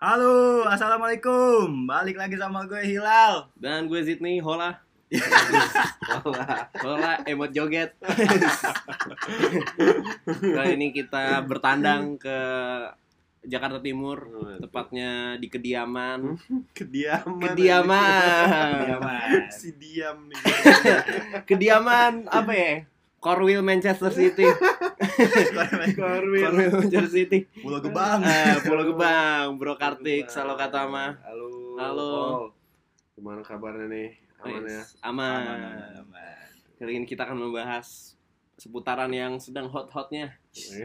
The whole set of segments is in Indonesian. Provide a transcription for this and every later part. Halo, assalamualaikum. Balik lagi sama gue Hilal. Dan gue Zidni, hola. hola, hola, emot joget. Kali ini kita bertandang ke Jakarta Timur, tepatnya di kediaman, kediaman kediaman, Diaman. si diam nih kediaman apa ya? Corwil Manchester City, Corwil Manchester City, Pulau Gebang. Eh, Pulau Gebang, Bro Kartik, Salokatama, halo Halo. Paul. gimana kabarnya nih aman ya Wis, aman. Aman. Kali ini kita akan membahas seputaran yang sedang hot-hotnya, Eh,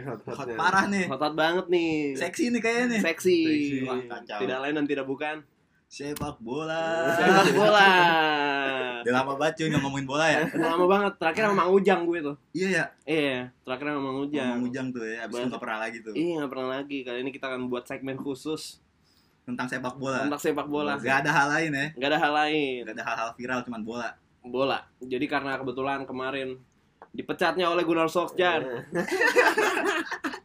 Hot hot-hotnya. parah nih. hot-hot banget nih. Seksi nih kayaknya nih. ya. seksi. Seksi. Wah, kacau. Tidak lain dan tidak bukan Sepak bola. sepak bola. Udah lama banget cuy nggak ngomongin bola ya. Udah lama banget. Terakhir sama Mang Ujang gue tuh. Iya ya. Iya, terakhir sama Mang Ujang. Ngomong Ujang tuh ya. Abis itu Banget. nggak pernah lagi tuh. Iya, nggak pernah lagi. Kali ini kita akan buat segmen khusus Tentang sepak bola. tentang sepak bola. Gak ada hal lain ya. Gak ada hal lain. Gak ada hal-hal viral cuman bola. Bola. Jadi karena kebetulan kemarin dipecatnya oleh Gunnar Solskjaer Eh,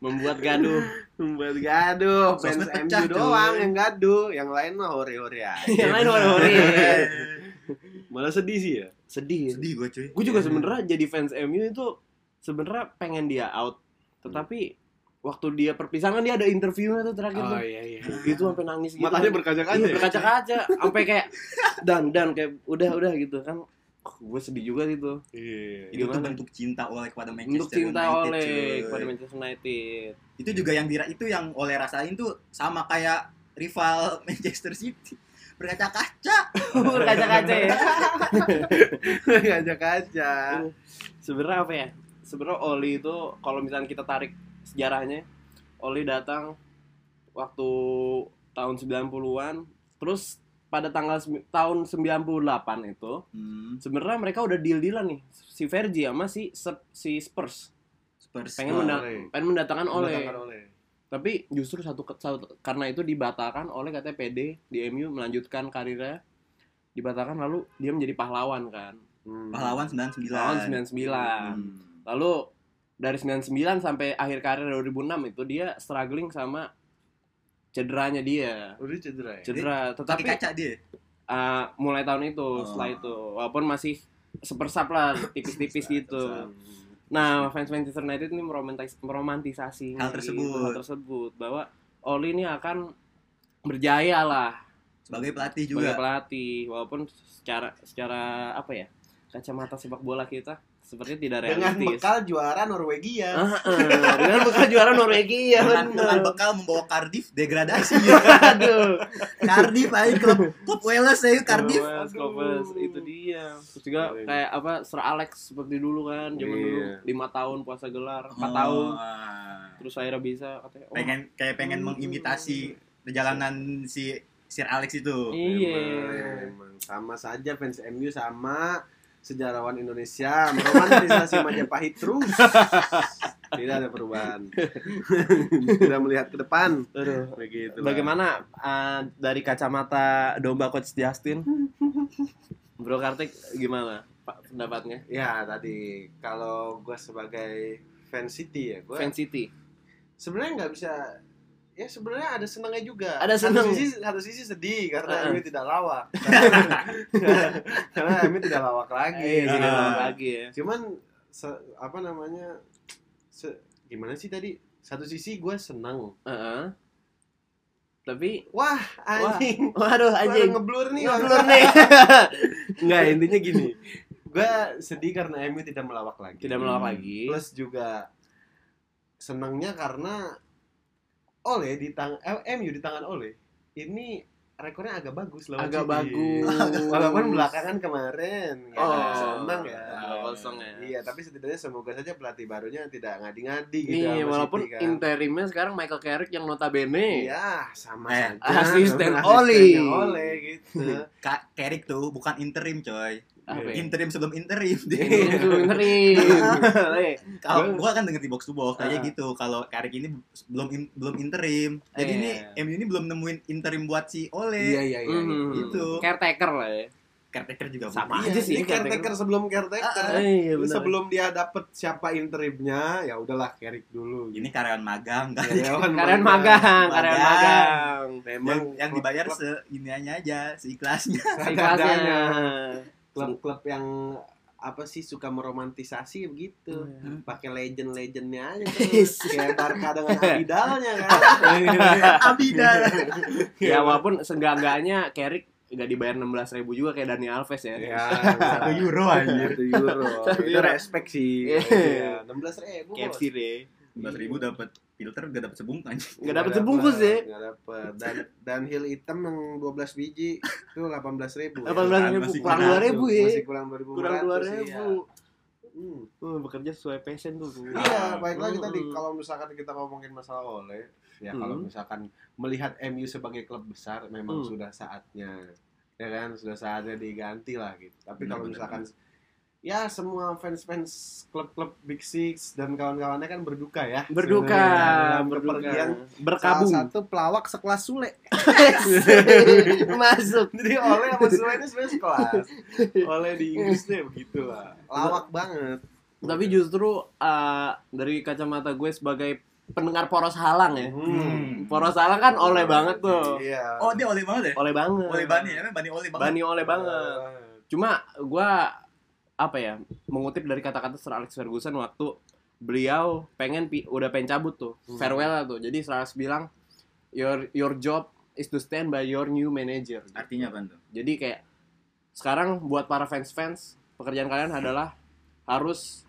membuat gaduh. membuat gaduh fans Sosmed MU pecah, coy. doang yang gaduh yang lain mah hore-hore aja Iya, Yang lain hore-hore. malah sedih sih ya Sedih. Sedih gue cuy. Iya. Gue Iya. juga sebenarnya jadi fans MU itu sebenarnya pengen dia out. Tetapi waktu dia perpisahan kan dia ada interviewnya tuh terakhir tuh. iya iya Gitu sampai nangis gitu. matanya berkaca-kaca Iya, ya? berkaca-kaca sampai kayak dan dan kayak udah udah gitu kan gue sedih juga gitu iya Itu tuh Gimana? bentuk cinta oleh kepada Manchester untuk cinta United, cuy. oleh kepada Manchester United itu juga yang dira itu yang oleh rasain tuh sama kayak rival Manchester City berkaca-kaca berkaca-kaca ya berkaca-kaca sebenarnya apa ya sebenarnya Oli itu kalau misalnya kita tarik sejarahnya Oli datang waktu tahun 90-an terus pada tanggal semi- tahun 98 itu hmm, sebenarnya mereka udah deal-dealan nih si Vergi sama si Sep- si Spurs Spurs pengen, doang. mendat- pengen mendatangkan Ole Didatangkan oleh tapi justru satu, ke- satu- karena itu dibatalkan oleh katanya PD di MU melanjutkan karirnya dibatalkan lalu dia menjadi pahlawan kan Hmm. pahlawan 99 pahlawan 99 Hmm. lalu dari 99 sampai akhir karir 2006 itu dia struggling sama cederanya dia udah cedera ya cedera tapi tetapi kaca dia uh, mulai tahun itu Oh. setelah itu walaupun masih sepersap lah tipis-tipis Sepersap, gitu sepersap. Hmm. nah fans Manchester United ini meromantis meromantisasi Hal tersebut. hal tersebut bahwa Oli ini akan berjaya lah sebagai pelatih sebagai juga pelatih walaupun secara secara apa ya kacamata sepak bola kita sepertinya tidak realistis juara Norwegia. Ah, ah, dengan bekal juara Norwegia dengan, dengan bener. bekal membawa Cardiff degradasi ya. aduh Cardiff aja klub klub Wales ya yuk, Cardiff Thomas, Aduh. Thomas, itu dia terus Iya, juga Keren. kayak apa Sir Alex seperti dulu kan zaman dulu Iya. lima tahun puasa gelar empat Oh, tahun ah. terus akhirnya bisa katanya oh, pengen kayak pengen Hmm. mengimitasi perjalanan si Sir Alex itu iya Emang, emang. Sama saja fans MU sama sejarawan Indonesia meromantisasi Majapahit terus. Tidak ada perubahan. Tidak melihat ke depan. Aduh. Begitu. Bagaimana uh, dari kacamata domba coach Justin? Bro Kartik gimana Pak pendapatnya? Ya tadi kalau gue sebagai fans City ya gue Fan City. sebenarnya nggak bisa ya sebenarnya ada senangnya juga Ada senang. satu sisi satu sisi sedih karena Heeh. MU tidak lawak karena MU tidak lawak lagi Eh, iya. tidak lama lagi ya. cuman se- apa namanya se- gimana sih tadi satu sisi gue senang Heeh. Tapi wah anjing waduh Anjing. anjing. ngeblur nih Ngeblur nih. Enggak, intinya gini. gue sedih karena MU tidak melawak lagi. Tidak Hmm. melawak lagi. Plus juga senangnya karena Oleh di tangan MU di tangan Oleh ini rekornya agak bagus lawan Agak City. bagus. Walaupun belakangan kemarin ya, Oh, senang ya. Dua kosong ya. Iya, tapi setidaknya semoga saja pelatih barunya tidak ngadi-ngadi gitu. Nih, sama Iya, walaupun City, kan. interimnya sekarang Michael Carrick yang notabene Iya, sama Eh, saja. asisten Asistennya Oli. Ole gitu. Kak Carrick tuh bukan interim coy apa Iya. ya? interim sebelum interim dia Itu interim. Eh, kalau Gua- gua kan denger di box to box kayak Ah. gitu kalau Karik ini belum in- belum interim jadi Iya. ini MU ini belum nemuin interim buat si Ole iya, mhm. Gitu. Caretaker lah ya. caretaker juga belum. Sama. Iya, Aja sih, sih caretaker. caretaker sebelum caretaker. Iya, Jadi benar. sebelum dia dapet siapa interimnya, ya udahlah Carrick dulu. gitu. ini karyawan magang kan Karyawan Karyawan magang, Magang. karyawan magang. Nah, emang yang, yang dibayar seiniannya aja, seikhlasnya. Kelasnya. klub-klub yang apa sih suka meromantisasi begitu Iya. pakai legend-legendnya aja terus kayak Barca dengan Abidalnya kan iya. Iya. Abidal. ya walaupun seenggak-enggaknya Carrick nggak dibayar 16.000 ribu juga kayak Dani Alves ya. ya Satu euro Iya. aja. satu euro Satu itu euro. respect sih Iya. enam belas ribu KFC deh. 11 ribu dapat filter gak dapat sebungkan. Nggak dapet sebungkus ya. Nggak dapet. Dan dan heel hitam yang 12 biji itu 18 ribu. Iya. 18 ribu Masih kurang kurang. 2 ribu ya. Masih kurang 2 ribu. Kurang 2 ribu. Hmm, bekerja sesuai passion tuh. Bu. Iya, baik lagi tadi Hmm. kalau misalkan kita ngomongin masalah Ole, ya Hmm. kalau misalkan melihat MU sebagai klub besar memang Hmm. sudah saatnya. Ya kan, sudah saatnya diganti lah gitu. Tapi Benar, kalau benar, misalkan ya semua fans-fans klub-klub Big Six dan kawan-kawannya kan berduka ya. Berduka, Sebenarnya dalam berduka. kepergian Berkabung. Salah satu pelawak sekelas Sule. Masuk. Jadi Ole sama Sule ini sebenarnya sekelas. Ole di Inggris deh begitulah. Lawak banget. Iya. Tapi justru eh, dari kacamata gue sebagai pendengar poros halang ya. Hmm. Poros halang kan oleh banget tuh. Iya. Oh, dia oleh banget ya? Oleh banget. Oleh Bani, namanya Bani oleh banget. Bani oleh banget. Cuma gua apa ya mengutip dari kata-kata Sir Alex Ferguson waktu beliau pengen pi- udah pengen cabut tuh Hmm. farewell lah tuh jadi Sir Alex bilang your your job is to stand by your new manager Artinya apa tuh? jadi kayak sekarang buat para fans-fans pekerjaan kalian adalah harus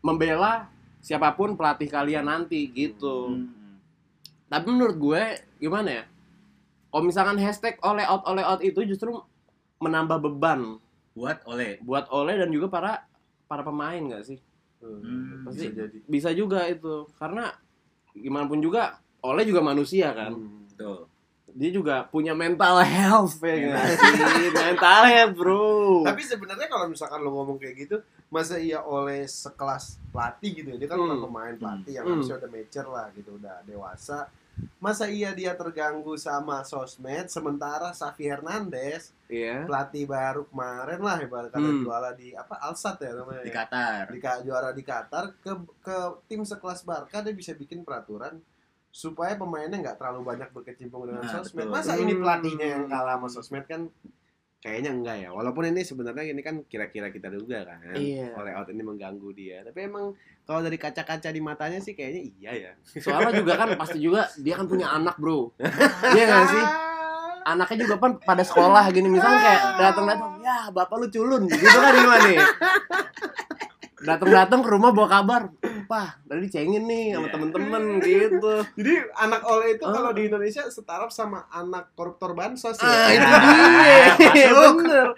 membela siapapun pelatih kalian nanti gitu Hmm. tapi menurut gue gimana ya kalau misalkan hashtag oleh out oleh out itu justru menambah beban Buat oleh. buat Ole dan juga para para pemain nggak sih Hmm, Pasti. Bisa jadi. bisa juga itu karena gimana pun juga Ole juga manusia kan Hmm. Betul. dia juga punya mental health ya nggak sih mental health bro Tapi sebenarnya kalau misalkan lo ngomong kayak gitu, masa iya oleh sekelas pelatih gitu ya. Dia kan Hmm. bukan pemain pelatih yang Hmm. harusnya udah mature lah gitu, udah dewasa. Masa iya dia terganggu sama sosmed sementara Safi Hernandez Iya. pelatih baru kemarin lah ibarat kata Hmm. juara di apa Alsat ya namanya. Di ya? Qatar. di Ka- juara di Qatar ke ke tim sekelas Barca dia bisa bikin peraturan supaya pemainnya nggak terlalu banyak berkecimpung dengan Nah, sosmed. betul. Masa ini pelatihnya yang Hmm. kalah sama sosmed kan kayaknya enggak ya. Walaupun ini sebenarnya ini kan kira-kira kita duga kan. Iya. Oleh out ini mengganggu dia. Tapi emang kalau dari kaca-kaca di matanya sih kayaknya iya ya. soalnya juga kan pasti juga dia kan punya anak bro iya nggak sih Ah. anaknya juga kan pada sekolah gini misalnya kayak datang datang ya bapak lu culun gitu kan gimana nih datang datang ke rumah bawa kabar pak tadi dicengin nih sama Iya. temen-temen gitu Jadi anak oleh itu Ah. kalau di Indonesia setaraf sama anak koruptor bansos ya. Ah, itu dia. Bener.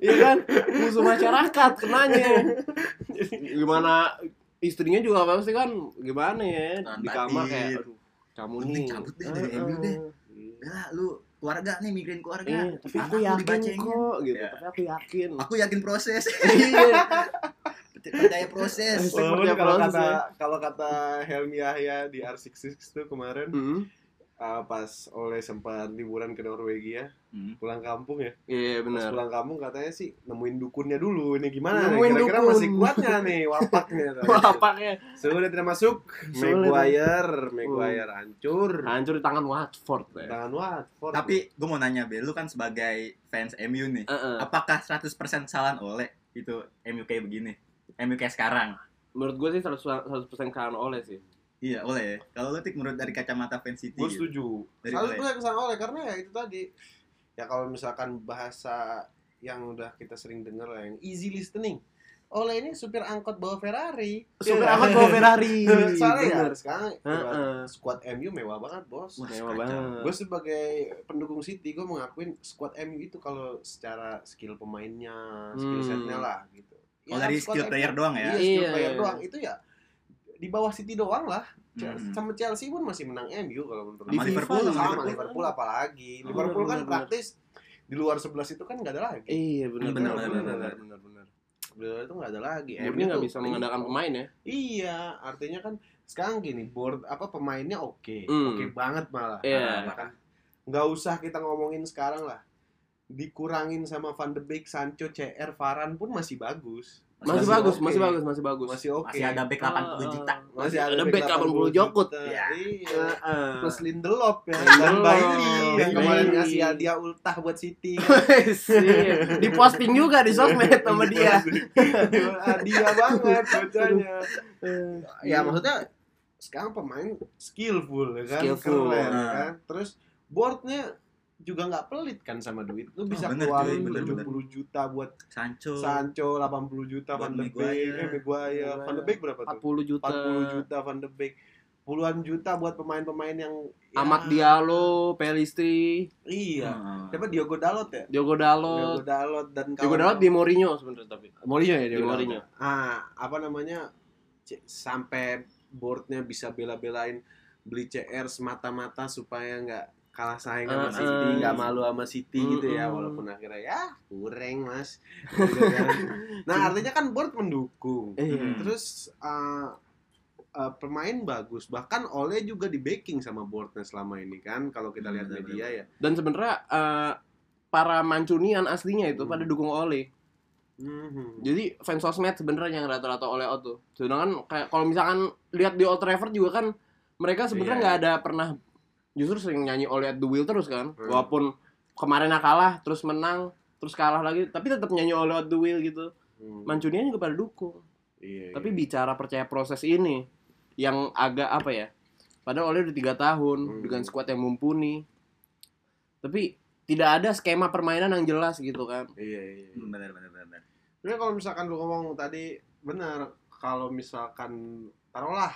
Iya kan? Musuh masyarakat kenanya. Gimana istrinya juga pasti kan gimana ya di Tantatin. kamar kayak aduh kamu nih Mending cabut deh dari eh, MU deh. Iya. Ya, lu keluarga nih migrain keluarga. eh, tapi aku Anakku yakin dibacengin. kok gitu Iya. tapi aku yakin Aku yakin proses. Iya. Percaya proses. Walaupun Seperti kalau proses kata ya. kalau kata Helmi Yahya di R66 tuh kemarin Hmm. uh, pas oleh sempat liburan ke Norwegia Hmm. pulang kampung ya iya pas benar pulang kampung katanya sih nemuin dukunnya dulu ini gimana nih? Nemuin kira-kira dukun. masih kuat nggak nih wapaknya Wapaknya sudah tidak masuk Sulit. Hmm. Maguire Maguire hancur hancur di tangan Watford ya. tangan Watford Tapi gue mau nanya, Bel, lu kan sebagai fans MU nih. Heeh. Apakah 100% salah oleh itu MU kayak begini? MU kayak sekarang. Menurut gue sih 100% 100% kalah oleh sih. Iya, oleh. ya. Kalau lu tik menurut dari kacamata fans City. iya. gue gitu. setuju Dari selalu Ole. gue kesana oleh karena ya itu tadi ya kalau misalkan bahasa yang udah kita sering dengar lah yang easy listening oleh ini supir angkot bawa Ferrari Super Iya. amat bawa Ferrari. Soalnya ya Bener. sekarang Heeh. squad MU mewah banget bos. Wah, Mewah kacau. banget. Gue sebagai pendukung City gue mengakuin squad MU itu kalau secara skill pemainnya, skill Hmm. Oh, setnya lah gitu. Kalau dari squad skill MU player doang ya. Iya, skill Iya. player doang itu ya di bawah City doang lah. Chel- Hmm. Sama Chelsea pun masih menang MU kalau menurut Sama gue. Liverpool, sama, sama Liverpool, Liverpool. apalagi. Bener, Liverpool kan Oh, bener, bener. praktis di luar 11 itu kan nggak ada lagi. Iya benar Benar, benar benar, benar benar. benar benar. Di luar itu nggak ada lagi. Murni nggak tuh bisa mengandalkan penuh. pemain ya. Iya, artinya kan sekarang gini, board apa pemainnya oke, Hmm. oke banget malah. Iya. Nah, kan nggak usah kita ngomongin sekarang lah. Dikurangin sama Van de Beek, Sancho, CR, Varan pun masih bagus. Masih, Masih bagus, oke. masih bagus, masih bagus. masih oke Oh, Masih ada back 80 juta. masih ada, ada back back 80 jokut. Ah. juta. Iya. iya Heeh. plus Lindelof ya dan Nah. Lindelof. Bailey yang kemarin Bailey. ngasih hadiah ultah buat City Sip. Diposting juga di sosmed sama dia. Iya. hadiah banget bocahnya Iya. ya Iya. maksudnya sekarang pemain skillful ya kan Skillful. keren ya Nah. kan terus boardnya juga nggak pelit kan sama duit lu bisa Oh, bener, cuy, keluarin bener, 70 juta buat Sancho. oh. Sancho 80 juta Buat Van de Beek Maguire. Iya. eh, Maguire Van de Beek berapa tuh 40 juta. 40 juta Van de Beek puluhan juta buat pemain-pemain yang ya, Amat Diallo, Pelistri, iya Heeh. siapa Diogo Dalot ya Oh. Diogo Diogo Dalot. Dalot dan Diogo kawan- Dalot di Mourinho sebenarnya tapi. Mourinho ya Di Diogo Mourinho. Dalot. ah apa namanya C- sampai boardnya bisa bela-belain beli CR semata-mata supaya nggak kalah saing Eh, sama City eh. nggak malu sama City gitu ya Mm-mm. walaupun akhirnya ya kurang mas Gitu kan. nah artinya kan board mendukung Iya. terus uh, uh, pemain bagus bahkan Ole juga di backing sama boardnya selama ini kan kalau kita lihat Benar, Hmm, media ya Dan sebenarnya eh, para mancunian aslinya itu Hmm. pada dukung Ole. Mhm. Jadi fans sosmed sebenarnya yang rata-rata Ole out tuh. Sedangkan kayak kalau misalkan lihat di Old Trafford juga kan mereka sebenarnya Iya. nggak ada pernah justru sering nyanyi Ole at the wheel terus kan. Hmm. Walaupun kemarin kalah terus menang terus kalah lagi tapi tetap nyanyi Ole at the wheel gitu. Hmm. Mancunian juga pada dukung. Iya, Tapi iya. bicara percaya proses ini yang agak apa ya? Padahal Ole udah tiga tahun Hmm. dengan skuad yang mumpuni. Tapi tidak ada skema permainan yang jelas gitu kan. iya, iya. Hmm, Benar benar benar. Sebenarnya kalau misalkan lu ngomong tadi benar kalau misalkan taruhlah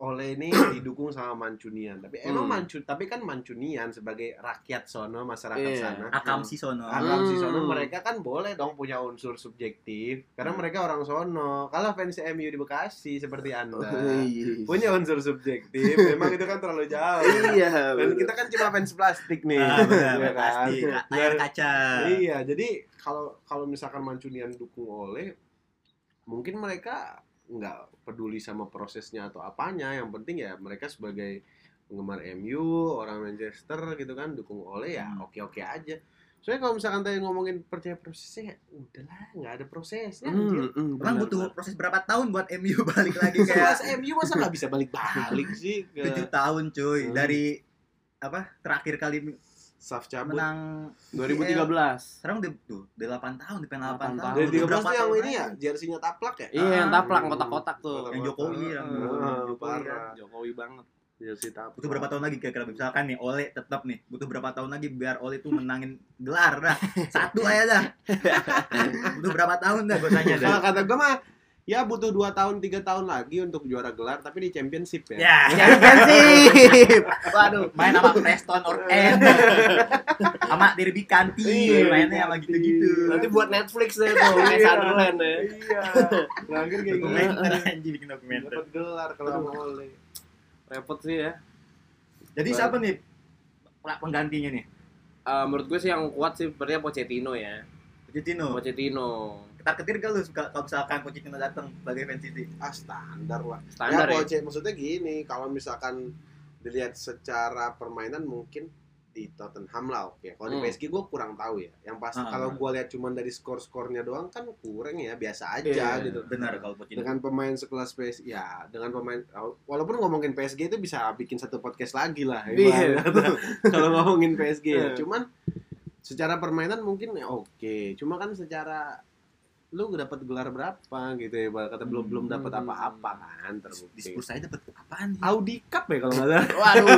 oleh ini didukung sama Mancunian. Tapi emang Hmm. Mancun, tapi kan Mancunian sebagai rakyat sono, masyarakat Iya. sana. Akam si sono. Agam si sono Hmm. mereka kan boleh dong punya unsur subjektif karena Hmm. mereka orang sono. Kalau fans MU di Bekasi seperti Anda punya unsur subjektif, memang itu kan terlalu jauh. Iya. Dan kita kan cuma fans plastik nih. Ah, benar, Iya kan? pasti. Layar kaca. Iya, jadi kalau kalau misalkan Mancunian dukung oleh mungkin mereka nggak peduli sama prosesnya atau apanya, yang penting ya mereka sebagai penggemar MU, orang Manchester gitu kan dukung oleh ya Hmm. oke-oke aja. Soalnya kalau misalkan tadi ngomongin percaya prosesnya, ya udahlah nggak ada Hmm. Ya, prosesnya. anjir. Emang Emang butuh proses berapa tahun buat MU balik lagi kayak Sekelas MU masa nggak bisa balik-balik sih tujuh ke tahun cuy Hmm. dari apa terakhir kali Saf cabut. menang 2013. sekarang udah tuh udah 8 tahun udah pengen 8, Delapan tahun tahun. Dari Udah 13 berapa tuh yang tahun ini ya, lagi? jersinya taplak ya? Iya, yang taplak Hmm. kotak-kotak tuh. Yang Jokowi, Iya yang Ah, Jokowi. parah. Jokowi banget. Jersey taplak. butuh berapa tahun lagi kira-kira misalkan nih Ole tetap nih butuh berapa tahun lagi biar Ole tuh menangin gelar dah satu aja dah butuh berapa tahun dah gue tanya dah Kalau kata gue mah ya butuh 2 tahun 3 tahun lagi untuk juara gelar tapi di championship ya. ya Championship. Waduh. main sama Preston or N sama Derby Kanti Iya, mainnya sama gitu-gitu Nanti buat Netflix deh tuh, Miss Sunderland ya. Iya. Terakhir kayak gitu. dokumenter anjing bikin dokumenter Dapat gelar kalau sama Ole. Repot sih ya. jadi siapa nih penggantinya nih Eh, menurut gue sih yang kuat sih sebenarnya Pochettino ya. Pochettino Pochettino. ketar ketir gak lu suka- kalau misalkan Pochettino datang sebagai fans City Ah standar lah. Standar ya. ya, Poche, maksudnya gini, kalau misalkan dilihat secara permainan mungkin di Tottenham lah oke. Kalau di Hmm. PSG gue kurang tahu ya. Yang pasti Ah. kalau gue lihat cuman dari skor-skornya doang kan kurang ya, biasa aja Iya, gitu. benar kalau Pochettino dengan pemain sekelas PSG ya dengan pemain walaupun ngomongin PSG itu bisa bikin satu podcast lagi lah Iya. ibarat. kalau ngomongin PSG ya. Iya. cuman secara permainan mungkin ya oke cuma kan secara lu dapat gelar berapa gitu ya ibarat kata belum belum dapat Hmm. apa-apa kan di terbukti Spurs saya dapat apaan nih? Audi Cup ya kalau nggak salah Waduh.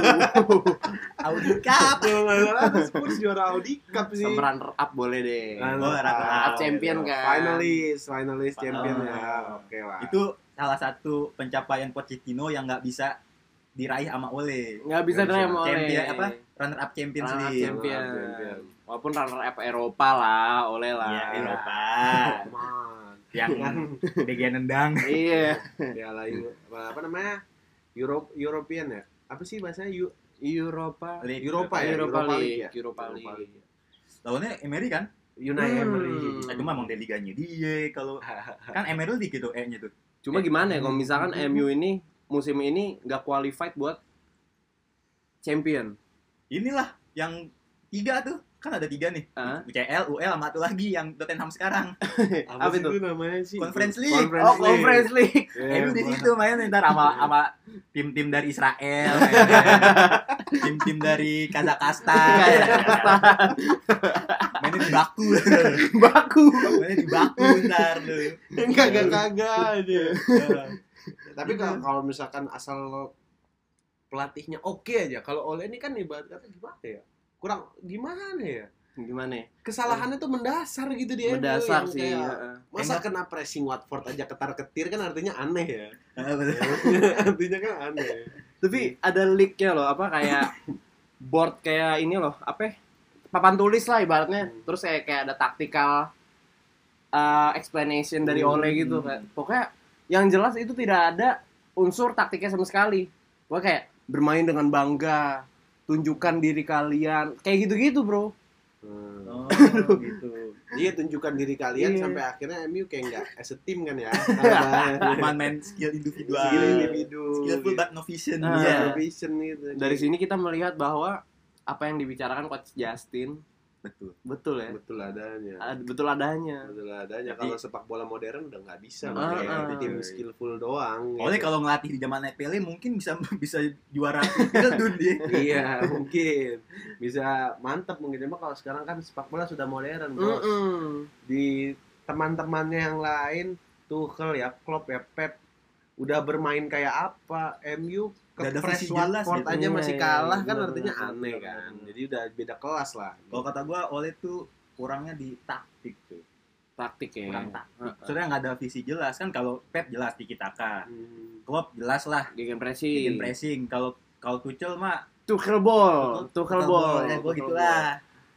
Audi Cup. kalau nggak salah Spurs juara Audi Cup sih Sama runner up boleh deh. Oh, runner-up champion kan. Finalis, finalis champion Ah. ya. Oke lah. Itu salah satu pencapaian Pochettino yang nggak bisa diraih sama Ole. Nggak bisa Nggak bisa. diraih sama oleh. Champion apa? Runner up Champions Runner up League. champion. Runner up champion. Walaupun runner up Eropa lah, oleh lah. Ya, Eropa. Man. yang bagian nendang. Iya. Piala Eu- apa namanya? Europe European ya. Apa sih bahasanya Eu- Europa. League. Europa ya? Europa League. ya? Europa League. Lawannya Emery kan? Unai Hmm. Emery. Eh, cuma emang dia liganya dia kalau kan Emery dikit tuh E-nya tuh. Cuma gimana ya kalau misalkan MU ini musim ini nggak qualified buat champion. Inilah yang tiga tuh kan ada tiga nih Hah? UCL UL sama satu lagi yang Tottenham sekarang Apa Apa, sih itu? itu namanya sih? Conference League. Conference Oh, League. Conference League. Ya, Emi di gua- situ main ntar sama sama tim-tim dari Israel, ya kan? tim-tim dari Kazakhstan, mainnya di Baku, Baku. mainnya di Baku ntar tuh. Enggak, enggak, gitu. Iya. kagak aja. Iya. Iya. Tapi kalau kalau misalkan asal pelatihnya oke aja. Kalau Ole ini kan ibarat kata gimana ya? Kurang gimana ya? Gimana ya? Iya, Kesalahannya tuh mendasar gitu dia. Mendasar sih. heeh. Masa kena pressing Watford aja ketar-ketir kan artinya aneh ya. Ah, betul. artinya kan aneh. Tapi ada leak-nya loh, apa kayak board kayak ini loh, apa ya? papan tulis lah ibaratnya. Hmm. Terus kayak kayak ada tactical uh, explanation dari Hmm. Ole gitu kan. Pokoknya yang jelas itu tidak ada unsur taktiknya sama sekali. Pokoknya kayak bermain dengan bangga, tunjukkan diri kalian, kayak gitu-gitu, Bro. Hmm. Oh, gitu. Iya tunjukkan diri kalian Iya. sampai akhirnya MU kayak enggak as a team kan ya. Cuman main skill Iya. individual, Skill individu. skillful but no vision. Ah. Iya. Vision gitu. Dari sini kita melihat bahwa apa yang dibicarakan coach Justin Betul. betul ya. betul adanya. Ad- Betul adanya. Betul adanya. Jadi- Kalau sepak bola modern udah nggak Ah, bisa, makanya kayak ah. gitu, tim skillful doang. Oleh gitu. kalau ngelatih di zaman Pele mungkin bisa bisa juara Piala dia. iya mungkin bisa mantep mungkin cuma kalau sekarang kan sepak bola sudah modern bro. Mm-mm. di teman-temannya yang lain Tuchel ya Klopp ya Pep udah bermain kayak apa MU ke Nggak ada press visi jelas Watford gitu. aja Iya, masih iya, kalah iya, kan benar, artinya benar, aneh benar, kan benar. jadi udah beda kelas lah Kalau kata gua Oleh tuh kurangnya di taktik tuh. Taktik ya. Kurang taktik. Heeh. Soalnya Iya. nggak ada visi jelas kan kalau Pep jelas di Kitaka. Hmm. Klopp jelas lah Gegen pressing. bikin pressing. Kalau kalau Tuchel mah Tuchel ball, Tuchel Tuchel ball. ya gua Tuchel ball. gitulah.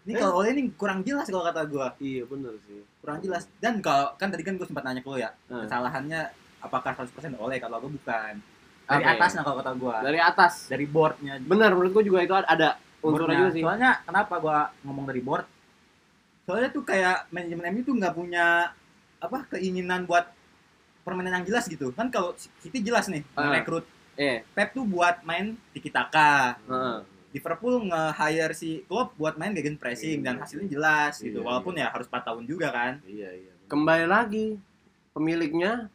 Ini kalau Oleh ini kurang jelas kalau kata gua, iya bener sih kurang jelas. Dan kalau kan tadi kan gua sempat nanya ke lo ya, Hmm. kesalahannya apakah 100% Oleh kalau gua bukan. Dari Oke. atas nah kalau kata gua. Dari atas. Dari boardnya Benar, menurut gua juga itu ada- ada unsurnya Boardnya. juga sih. Soalnya kenapa gua ngomong dari board? Soalnya tuh kayak manajemen MU tuh nggak punya apa keinginan buat permainan yang jelas gitu. Kan kalau City jelas nih Ah. merekrut Eh, Pep tuh buat main tiki taka. Heeh. Hmm, Liverpool nge-hire si Klopp buat main gegen pressing Iya. dan hasilnya jelas gitu. Iya, Walaupun ya iya. harus 4 tahun juga kan. iya iya kembali lagi pemiliknya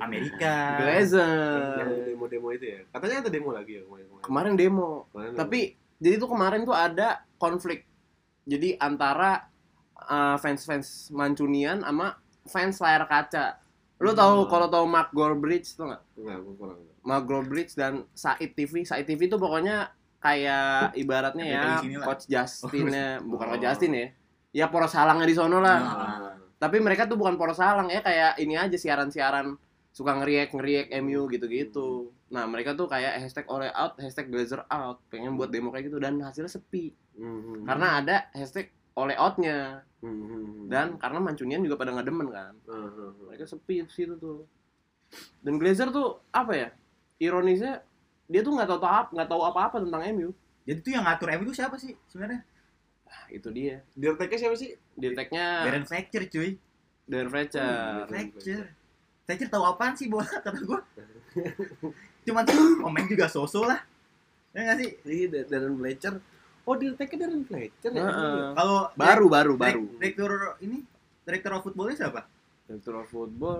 Amerika. yang Glazer. demo-demo itu ya katanya ada demo lagi ya kemarin Kemarin demo. Kemarin Tapi jadi tuh kemarin tuh ada konflik. Jadi antara uh, fans-fans Mancunian sama fans layar kaca. Lu tahu Hmm. kalau tahu Mark Gorbridge tuh nggak? nggak gua kurang Magro Bridge dan Said TV. Said TV itu pokoknya kayak ibaratnya ya Kayak di sini lah. Coach Justinnya, bukan Coach Oh. Justin ya. Ya poros halangnya di sono lah. Ah. Tapi mereka tuh bukan poros halang ya kayak ini aja siaran-siaran suka ngeriak ngeriak Hmm. MU gitu-gitu. Nah mereka tuh kayak hashtag oleh out, hashtag Glazer out, pengen buat demo kayak gitu dan hasilnya sepi Hmm. Mhm. karena ada hashtag oleh outnya Mhm. dan karena mancunian juga pada nggak demen kan Mhm. mereka sepi di situ tuh dan Glazer tuh apa ya ironisnya dia tuh nggak tahu apa nggak tahu apa apa tentang MU Jadi tuh yang ngatur MU tuh siapa sih sebenarnya? nah, itu dia Dirteknya siapa sih? deteknya Darren Fletcher cuy. Darren Hmm. Fletcher Fletcher. Fletcher tahu apaan sih bola kata gua. Cuman komen juga sosok lah. Ya nggak sih? Iya, Da- Darren Fletcher. Oh, Dirteknya Darren Fletcher ya? Heeh. Kalau baru baru direk- baru direk- direktur ini direktur of footballnya siapa? direktur of football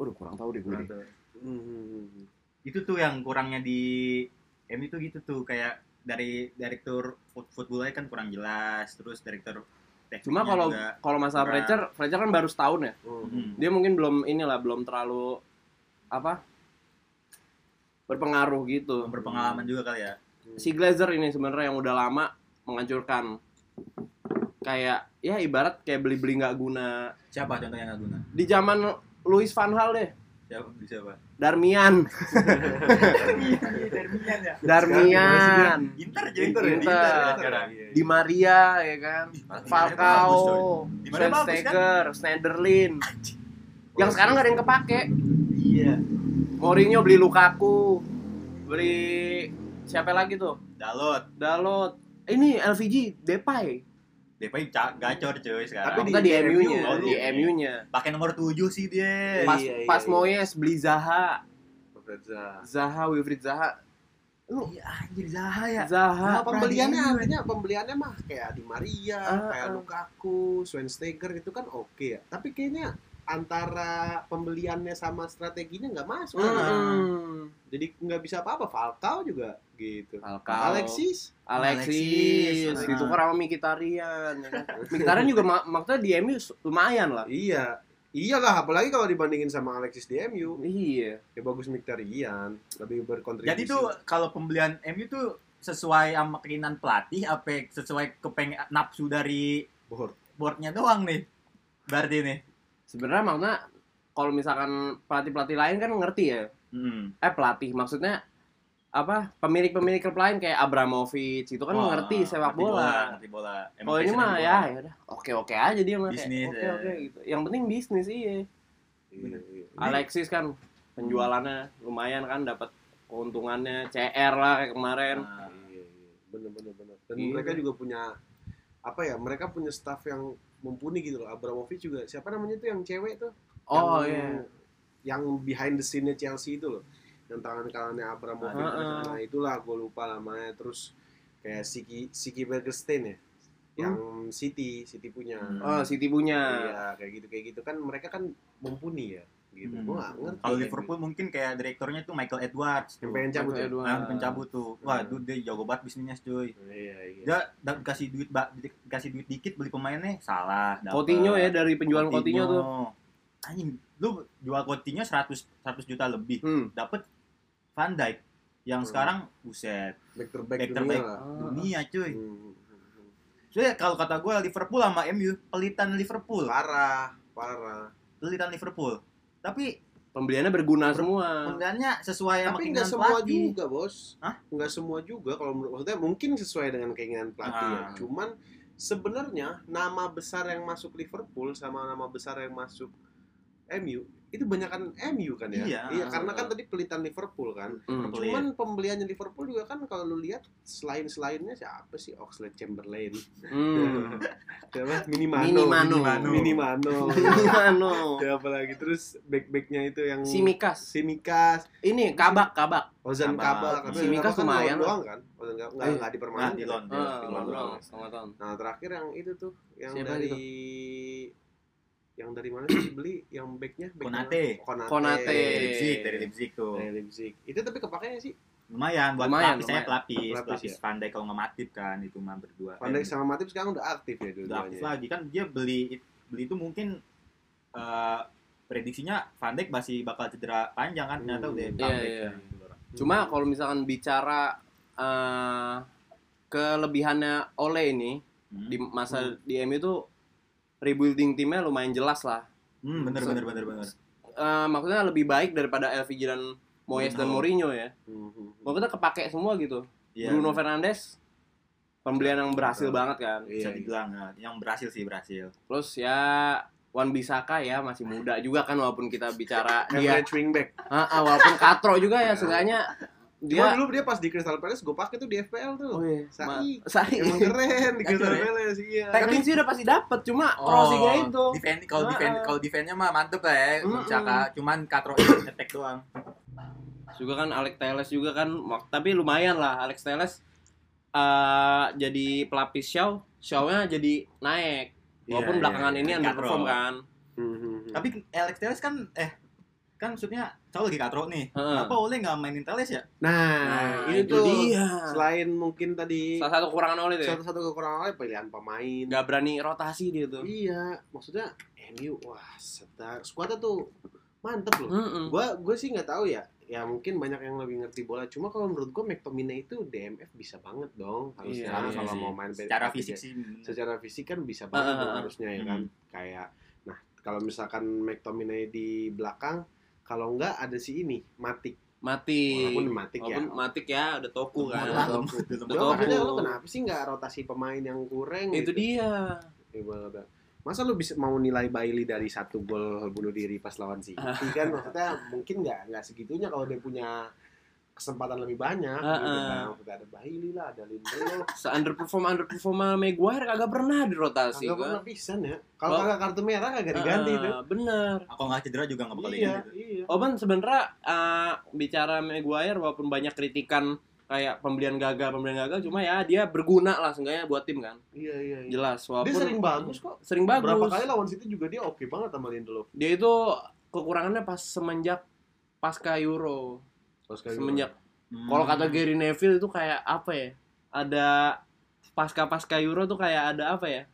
Waduh kurang tahu deh gue. deh. Hmm, Mhm. Itu tuh yang kurangnya di MU tuh gitu tuh kayak dari direktur fut- footballnya kan kurang jelas, terus direktur tekniknya Cuma kalau juga. kalau masalah Iya, kurang. Fletcher, Fletcher kan baru setahun ya. Hmm. Dia mungkin belum inilah belum terlalu apa berpengaruh gitu. Belum berpengalaman juga kali ya. si Glazer ini sebenarnya yang udah lama menghancurkan kayak ya ibarat kayak beli-beli nggak guna Siapa contohnya nggak guna? di zaman Louis van Gaal deh Siapa? Di siapa? Darmian Darmian ya. Darmian Inter Inter, jadi Inter, Inter. ya, sekarang. Di Maria ya kan Falcao Di mana Van bagus, Steger Schneiderlin yang sekarang nggak ada yang kepake Iya. Mourinho beli Lukaku beli siapa lagi tuh Dalot, Dalot ini LVG Depay Depay ca- gacor cuy sekarang. Tapi Tapi tapi di- di, di MU, MU-nya oh, di di MU-nya pakai nomor 7 sih dia. pas Iya, iya, pas iya. Moyes beli Zaha Fletcher. Zaha Wilfried Zaha Lu Iya anjir Zaha ya. Zaha Zaha. Nah, pembeliannya Pradi. artinya pembeliannya mah kayak di Maria, Ah, kayak ah. Lukaku, Schweinsteiger itu kan oke ya. Tapi kayaknya antara pembeliannya sama strateginya nggak masuk. kan? Mm. Jadi nggak bisa apa-apa. Falcao juga gitu. Falcao. Alexis Alexis, Alexis. itu sama Mikitarian. ya kan? Mikitarian juga mak- maksudnya di MU su- lumayan lah. Iya. Iyalah, apalagi kalau dibandingin sama Alexis di MU. Iya. Ya bagus Mkhitaryan, lebih berkontribusi. Jadi tuh kalau pembelian MU tuh sesuai sama keinginan pelatih apa sesuai kepengen nafsu dari Board. boardnya doang nih. Berarti nih. Sebenarnya maksudnya kalau misalkan pelatih-pelatih lain kan ngerti ya. Hmm. Eh pelatih maksudnya apa pemilik-pemilik klub lain kayak Abramovich itu kan Wah, ngerti sepak ngerti bola. Ngerti bola. Emang Kalau ini passionnya mah bola. ya ya udah oke-oke aja dia mah kayak, Bisnis, oke ya. oke gitu. Yang penting bisnis iya. Iya, iya. Alexis kan penjualannya lumayan kan dapat keuntungannya CR lah kayak kemarin. Nah, Iya, iya. Bener, bener, bener. Dan Iya. mereka juga punya apa ya? Mereka punya staff yang mumpuni gitu loh. Abramovich juga. Siapa namanya tuh yang cewek tuh? Oh iya. yang, Yang behind the scene-nya Chelsea itu loh. Yang tangan kanannya Abramovich. Ah, ah. Nah, itulah gue lupa namanya. Terus kayak Siki Siki Bergerstein ya. Hmm? Yang City, City punya. Hmm. Oh, City punya. Iya, kayak gitu kayak gitu kan mereka kan mumpuni ya gitu. Hmm. Gua nggak ngerti. Iya, Kalau ya, Liverpool mungkin kayak direkturnya tuh Michael Edwards. gitu. yang pengen cabut ya. Dua. Nah, pencabut tuh. Wah, Hmm. dude dia jago banget bisnisnya cuy. Iya, iya. Ya. Dia da- kasih duit ba- di- kasih duit dikit beli pemainnya salah. dapet. Coutinho ya dari penjualan Coutinho, tuh. Anjing, lu jual Coutinho 100 100 juta lebih. Hmm. Dapat Van Dijk yang Hmm. sekarang buset Back to back, Back to dunia back. lah. Ah. dunia cuy. Hmm. Jadi kalau kata gue Liverpool sama MU pelitan Liverpool, Parah, parah. pelitan Liverpool. Tapi Pembeliannya berguna semua. penggannya sesuai sama Tapi nggak keinginan semua pelatih. juga, Bos. Hah? Nggak semua juga kalau menurut maksudnya mungkin sesuai dengan keinginan pelatih ya. Ah. Cuman sebenarnya nama besar yang masuk Liverpool sama nama besar yang masuk MU itu banyak kan MU kan ya. Iya. karena kan tadi pelitan Liverpool kan. Hmm. Pelit. Cuman pembeliannya Liverpool juga kan kalau lu lihat selain-selainnya siapa sih Oxlade Chamberlain, Hmm. siapa Minimano, Minimano. Minimano. Minimano. siapa lagi terus back-backnya itu yang Si Mikas. Simikas, Ini kabak kabak. Ozan Kabak. Kabak, Si Mikas kan lumayan doang kan, Ozan Kabak nggak Eh, nggak Nah, dipermainkan. di loan, di Ah, loan, di belum loan. dong, setengah tahun. Nah terakhir yang itu tuh yang Siapa dari itu? yang dari mana sih beli yang backnya backnya- Konate. Konate. Konate. Dari Leipzig, dari Leipzig tuh. Dari Leipzig. Itu tapi kepakainya sih Lumayan buat Eh. Lumayan, pelapis saya lumayan. ya. pelapis, Pelapis, pelapis pandai kalau nggak matip kan itu mah berdua. Van Dijk Eh, sama Matip sekarang udah aktif ya udah aktif dua-duanya. lagi kan dia beli beli itu mungkin eh, prediksinya Van Dijk masih bakal cedera panjang kan ternyata Hmm. udah Iya, comeback iya. kan. Cuma kalau misalkan bicara eh, kelebihannya Ole ini Hmm. di masa di MU itu rebuilding timnya lumayan jelas lah. Hmm, bener bener bener bener. Eh, maksudnya lebih baik daripada LVG dan Moyes dan Mourinho ya. Mhm. Maksudnya kepake semua gitu. Iya, Bruno Fernandes pembelian yang berhasil Betul. banget kan. bisa Iya, iya. dibilang nah, yang berhasil sih berhasil. Terus ya Wan Bisaka ya masih muda juga kan walaupun kita bicara dia Average wingback. Ah, ah, walaupun katro juga ya seenggaknya Cuma dia dulu dia pas di Crystal Palace gue pakai tuh di FPL tuh. Iya. Oh, iya. Ma- Sai. Sai. Emang keren di Crystal Keren. Palace iya. Teknik sih udah pasti dapet cuma crossingnya itu. Oh, Defend kalau Ah, defend ah. kalau defendnya mah mantep lah ya. Mm-mm. Saka. cuman Katro attack doang. Juga kan Alex Teles juga kan mak- tapi lumayan lah Alex Teles eh jadi pelapis Shaw, Shaw-nya jadi naik. Walaupun Iya, belakangan iya, ini iya. underperform Katro. kan. Mhm. Tapi Alex Telles kan eh kan maksudnya cowok lagi Katro nih. Heeh. Apa oleh nggak mainin Telles ya? nah, itu, dia. selain mungkin tadi Salah satu kekurangan oleh itu. ya. satu-satu kekurangan lain pilihan pemain. Nggak berani rotasi dia tuh. Iya, maksudnya MU wah setar skuadnya tuh mantep loh. Mm-mm. Gua gue sih nggak tahu ya. Ya mungkin banyak yang lebih ngerti bola. Cuma kalau menurut gue McTominay itu DMF bisa banget dong harusnya Iya, kalau Ya, sih. mau main secara PK. fisik sih. bener. Secara fisik kan bisa banget Ah, dong ah, ah. harusnya ya kan. Kayak nah kalau misalkan McTominay di belakang kalau enggak ada si ini Matik. Mati. Walaupun Matik ya. Iya. Walaupun matik ya, udah toku kan. Malah, Betul. betul. Betul. Cuma maksudnya lu kenapa sih nggak rotasi pemain yang kurang Itu gitu? dia. Ya, bener, bener. Masa lu bisa mau nilai Bailey dari satu gol bunuh diri pas lawan City Ah. kan maksudnya mungkin nggak nggak segitunya kalau dia punya kesempatan lebih banyak gitu Heeh. kan. Maksudnya ada Bailey lah, ada Lindelof, se underperform underperform sama Maguire kagak pernah dirotasi kagak kan. pernah pisan ya. Kalau Oh. kagak kartu merah kagak Ah, diganti gitu. itu. Bener. Kalau nggak cedera juga nggak bakal Iya, diganti. iya. Oban sebenarnya ah, bicara Maguire walaupun banyak kritikan kayak pembelian gagal pembelian gagal cuma ya dia berguna lah seenggaknya buat tim kan Iya iya. iya. jelas walaupun Dia sering bagus kok. sering bagus Berapa kali lawan City juga dia oke banget sama Lindelof. dia itu kekurangannya pas semenjak pasca Euro Pascal Euro. semenjak Hmm. kalau kata Gary Neville itu kayak apa ya ada pasca pasca Euro tuh kayak ada apa ya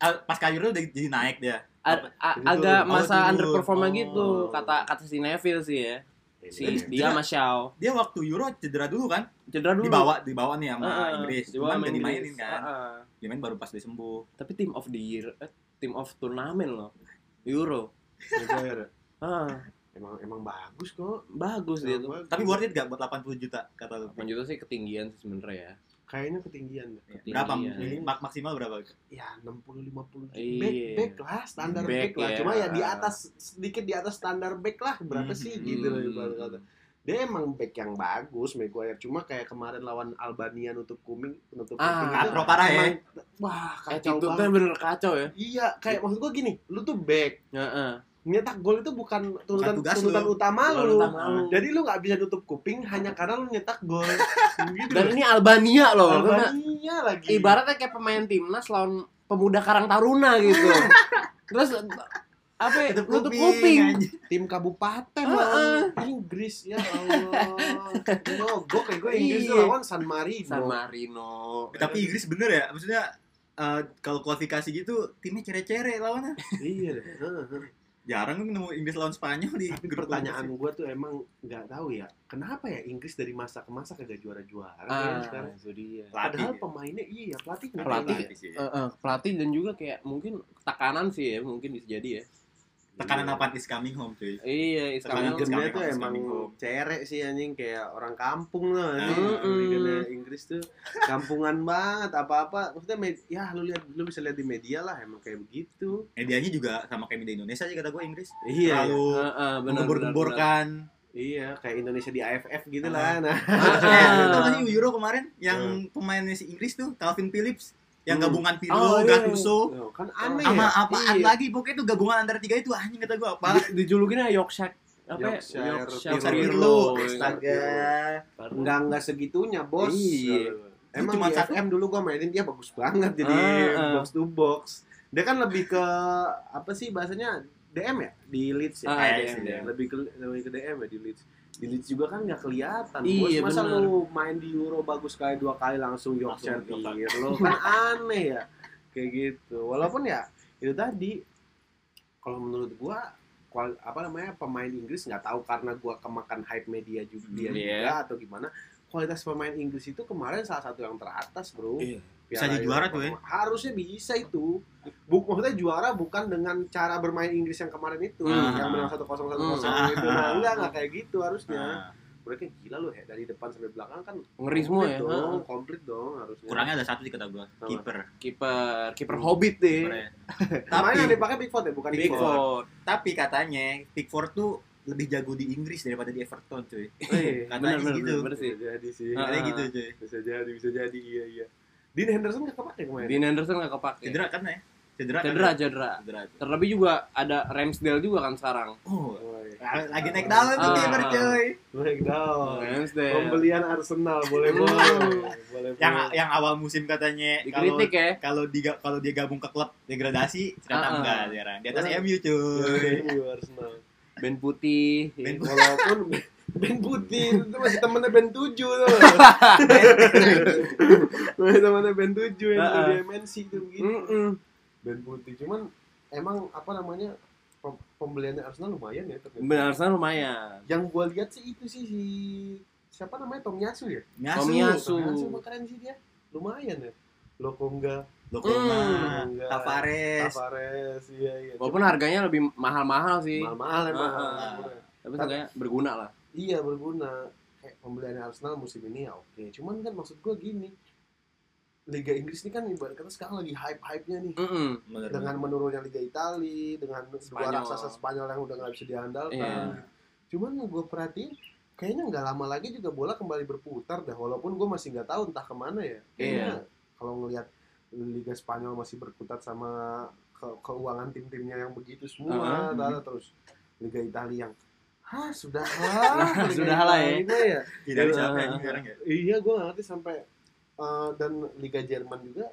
Ah, pas kayu udah jadi naik dia. A- a- Jadi turun. Oh, agak masa turun. underperform Oh. Iya. gitu kata kata si Neville sih ya Ini si dia. dia sama Shaw Dia waktu Euro cedera dulu kan? cedera dulu Dibawa dibawa nih sama Heeh, Inggris. Ah, dibawa Cuman sama gak dimainin Inggris. Ah, kan. Heeh. Dia main baru pas dia sembuh. tapi tim of the year eh, tim of turnamen loh Euro Maguire. ah iya. Emang emang bagus kok. bagus dia tuh Emang bagus. Tapi worth it gak buat 80 juta kata lu? 8 juta sih ketinggian sih sebenernya ya kayaknya ketinggian. deh. Iya. Berapa? Ketinggian. Mak- maksimal berapa? Ya 60 50 Iya. back back lah standar back, Back lah. ya. Cuma ya di atas sedikit di atas standar back lah. Berapa sih Hmm. gitu loh Hmm. ibarat kata. Dia emang back yang bagus Maguire. Cuma kayak kemarin lawan Albania nutup kuming, nutup Ah, kuping. katro parah ya. Emang- Wah, kacau attitude-nya banget. bener Eh, kacau ya Iya, kayak maksud gua gini, lu tuh back, Heeh. nyetak gol itu bukan tuntutan tugas tuntutan lu. utama Kalau lu. utama lu. Jadi lu nggak bisa nutup kuping hanya karena lu nyetak gol. gitu. dan ini Albania loh karena Albania lagi. Hmm. ibaratnya kayak pemain timnas lawan pemuda Karang Taruna gitu terus apa ya, nutup kuping anjing. tim kabupaten Heeh. lawan Inggris ya Allah. Mogok ya gue Inggris tuh Iya. lawan San Marino. San Marino Tapi Inggris bener ya? Maksudnya eh, kalau kualifikasi gitu timnya cere-cere lawannya. Iya. deh. Heeh. Jarang lu nemu Inggris lawan Spanyol di Tapi grup pertanyaan gue tuh emang nggak tahu ya, kenapa ya Inggris dari masa ke masa kagak juara-juara ah ya sekarang? itu dia Padahal pelatih. pemainnya iya pelatihnya. Pelatih. kagak. sih. Eh, eh, pelatih dan juga kayak mungkin tekanan sih ya mungkin bisa jadi ya Tekanan Iya. apa is coming home cuy. iya Tekanan sekarang Inggris. Sekarang Manajernya tuh emang emang sekarang minggu. cerek sih anjing kayak orang kampung loh anjing. Mm-mm. Liga Inggris tuh kampungan banget apa-apa maksudnya med- ya lu lihat lu bisa lihat di media lah emang kayak begitu. Medianya juga sama kayak media Indonesia aja kata gue Inggris. Iya. Terlalu Heeh, eh, benar benar menggembor-gemborkan. Iya, kayak Indonesia di AFF gitu Ah. lah. Nah, Eh, Ah. lu tau benar. gak sih Euro kemarin yang pemainnya si Inggris tuh Calvin Phillips yang Hmm. gabungan Pirlo, Oh, iya. Gattuso, Loh, kan aneh sama ya. apaan Iya. lagi pokoknya itu gabungan antara tiga itu anjing kata gua apa? Di- dijulukin ya Yorkshire apa ya? Yorkshire Dasar Pirlo. Pirlo, Astaga. Enggak enggak segitunya, Bos. Gitu. Iya. Emang Cuma di satu. FM dulu gua mainin dia bagus banget jadi Ah, ah. box to box. Dia kan lebih ke apa sih bahasanya DM ya di Leeds Ah, ya. Kayaknya DM, sih ya. Lebih ke lebih ke DM ya di Leeds. Di Leeds juga kan nggak kelihatan. Iya, Bos, masa bener. lu main di Euro bagus kali dua kali langsung Yorkshire Langsung Yorkshire. Pirlo kan aneh ya. Kayak gitu. Walaupun ya itu tadi kalau menurut gua kual- apa namanya pemain Inggris nggak tahu karena gua kemakan hype media juga dia Hmm, iya. juga atau gimana kualitas pemain Inggris itu kemarin salah satu yang teratas bro Iya. Bisa jadi juara tuh, ya. harusnya bisa itu Buk, maksudnya juara bukan dengan cara bermain Inggris yang kemarin itu Hmm. yang menang satu kosong satu kosong Hmm. itu nah, enggak enggak kayak gitu harusnya Nah, mereka gila loh ya dari depan sampai belakang kan Ngeri semua komplit ya. dong, Heeh. komplit dong harusnya kurangnya ada satu sih kata gua, Apa? Iya. kiper. Kiper, kiper hobbit deh. Kipernya. tapi yang tapi dipakai Pickford ya bukan Pickford. Pickford Pickford. tapi katanya Pickford tuh lebih jago di Inggris daripada di Everton cuy. Eh, Katanya Iya, Bener, bener, gitu. bener sih. bisa jadi sih Ah. Katanya gitu cuy. bisa jadi bisa jadi iya iya Dean Henderson gak kepake kemarin Dean Anderson nggak kepake. Cedera kan ya? Cedera. kan, Cedera, ya? cedera. Cedera. Terlebih juga ada Ramsdale juga kan sekarang. Oh, Woi. lagi naik daun nih Ah. kiper cuy. Break down. Ramsdale. Pembelian Arsenal boleh Hmm. boleh. Iya. boleh Yang boleh. yang awal musim katanya kalau Dikritik ya. kalau dia kalau dia gabung ke klub degradasi ternyata Ah, ah. enggak sekarang di atas Ah. MU cuy Iya, Arsenal. Ben putih. Ben Walaupun Ben Putih itu masih temennya Ben 7 tuh. masih temennya Ben 7 yang Ah, ah. di MNC itu begini. Mm-mm. Hmm. Ben Putih cuman emang apa namanya pem- pembeliannya Arsenal lumayan ya ternyata. Ben Anderson lumayan. Yang gua lihat sih itu sih si siapa namanya Tom Yasu ya? Tom ngasu Yasu. Su. Tom Yasu mah keren sih dia. Lumayan ya. Lo kok enggak? Lokoma Hmm. Tavares Tavares iya iya. Walaupun harganya lebih mahal-mahal sih, mahal-mahal emang. Ah. tapi seenggaknya berguna lah. Iya berguna. Kayak pembelian Arsenal musim ini ya oke. Cuman kan maksud gue gini, Liga Inggris ini kan ibarat kata sekarang lagi hype-hype-nya nih. Mm-mm. Bener. Dengan menurunnya Liga Itali, dengan Spanyol. dua raksasa Spanyol yang udah nggak bisa diandalkan. Iya. Cuman gue perhatiin, kayaknya nggak lama lagi juga bola kembali berputar dah. Walaupun gue masih nggak tahu entah kemana ya. Iya. Kayaknya kalau ngelihat Liga Spanyol masih berkutat sama ke- keuangan tim-timnya yang begitu semua, Uh-huh. tara- terus Liga Italia yang Hah, sudah lah. Sudah lah ya. Tidak Iya. siapa ini sekarang ya. Iya, gue gak ngerti sampai eh, dan Liga Jerman juga.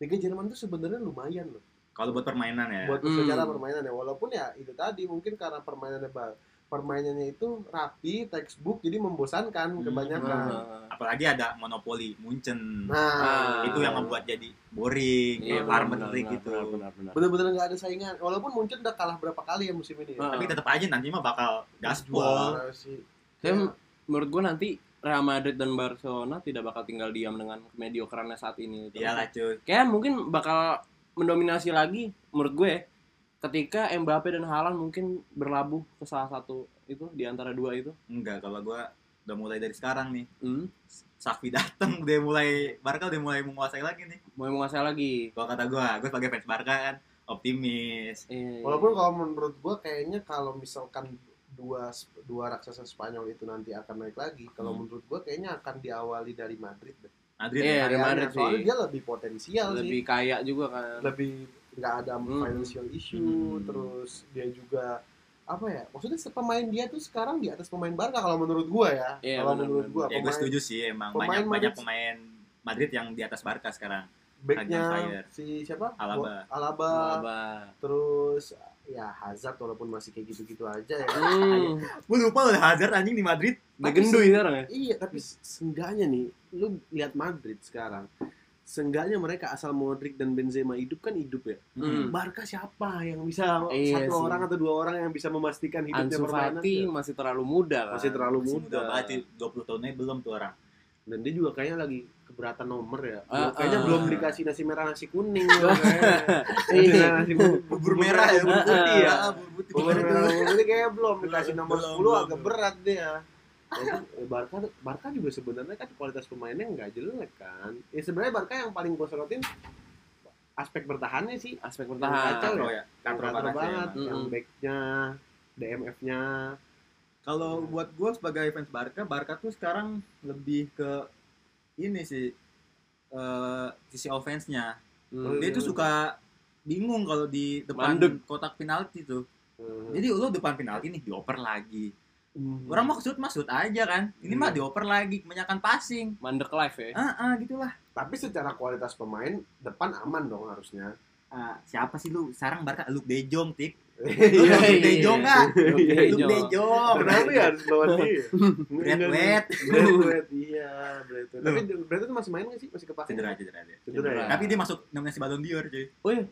Liga Jerman tuh sebenarnya lumayan loh Kalau buat permainan ya. buat Hmm. secara permainan ya. Walaupun ya itu tadi mungkin karena permainannya ba- permainannya itu rapi, textbook jadi membosankan Hmm. kebanyakan. Apalagi ada monopoli Munchen. Nah, Ah. itu yang membuat jadi boring, Iya, ya, benar, farmer benar, league benar, gitu. benar, benar, benar. bener-bener nggak ada saingan. Walaupun mungkin udah kalah berapa kali ya musim ini. Ya. Ah. Tapi tetap aja nanti mah bakal gaspol. Juara sih. Saya menurut gue nanti Real Madrid dan Barcelona tidak bakal tinggal diam dengan mediokrannya saat ini. Terus Iyalah Iya cuy. Kayak mungkin bakal mendominasi lagi menurut gue ketika Mbappe dan Haaland mungkin berlabuh ke salah satu itu di antara dua itu. Enggak, kalau gua udah mulai dari sekarang nih. Hmm. Safi datang udah mulai Barca udah mulai menguasai lagi nih. Mau mau ngasih lagi. Kalau kata gua, gua sebagai fans Barca kan optimis. Eh, Walaupun kalau menurut gua kayaknya kalau misalkan dua dua raksasa Spanyol itu nanti akan naik lagi, kalau Hmm. menurut gua kayaknya akan diawali dari Madrid. deh. Madrid Iya, ya. dari Kayaknya. Madrid Soalnya sih. dia lebih potensial lebih sih, Eh, kaya juga kan. lebih nggak ada Hmm. financial issue, Hmm. terus dia juga apa ya? Maksudnya se- pemain dia tuh sekarang di atas pemain Barca kalau menurut gua ya. Iya, kalau benar, menurut benar. gua Ya gua pemain setuju sih emang pemain banyak banyak Madrid- pemain Madrid yang di atas Barca sekarang. backnya Agak fire. si siapa? Alaba. Bo- Alaba. Alaba. Terus ya Hazard walaupun masih kayak gitu-gitu aja ya. Hmm. Gua lupa loh Hazard anjing di Madrid. Udah gendui sekarang ya. Iya, tapi se- seenggaknya nih, lu lihat Madrid sekarang. Seenggaknya mereka asal Modric dan Benzema hidup kan hidup ya. Hmm. Barca siapa yang bisa Iya sih. satu orang atau dua orang yang bisa memastikan hidupnya Ansu permainan? Fati masih terlalu muda kan. Masih terlalu Masih muda. banget sih, 20 tahunnya belum tuh orang. Dan dia juga kayaknya lagi keberatan nomor ya. Ah, ah. kayaknya Oh. belum dikasih nasi merah nasi kuning. kayaknya. Nasi nasi bubur, Bubur merah ya, bubur putih ya. Bubur putih. Bubur merah bubur putih kayaknya belum dikasih Belum, nomor belum, 10 agak belum. berat dia. Walaupun, eh, Barca Barca juga sebenarnya kan kualitas pemainnya nggak jelek kan. Ya sebenarnya Barca yang paling gue sorotin aspek bertahannya sih. Aspek Kacau bertahan. Katro ya. Katro banget. sih banget, emang. yang Mm-mm. backnya, DMF-nya. Kalau buat gue sebagai fans Barca, Barca tuh sekarang lebih ke ini sih eh sisi offense-nya. Hmm. Dia tuh suka bingung kalau di depan Mandek. kotak penalti tuh. eh. Jadi lu depan penalti nih dioper lagi. Orang mau shoot mah shoot aja kan. Ini mah Hmm. dioper lagi, kebanyakan passing. Mandek live ya. Ah, ah, gitulah. Tapi secara kualitas pemain depan aman dong harusnya. Ah, siapa sih lu? Sarang Barca Luke De Jong, Tik. Lu Iya, Luke De iya. Jong enggak? Luke De Luke De Jong. Jong. iya. Kenapa ya harus lawan dia? Bradwet. Bradwet, iya, Bradwet. Tapi Bradwet masih main nggak sih? Masih kepake? Cedera, cedera dia. Cedera ya? Tapi dia masuk nominasi Ballon d'Or, cuy. Oh iya.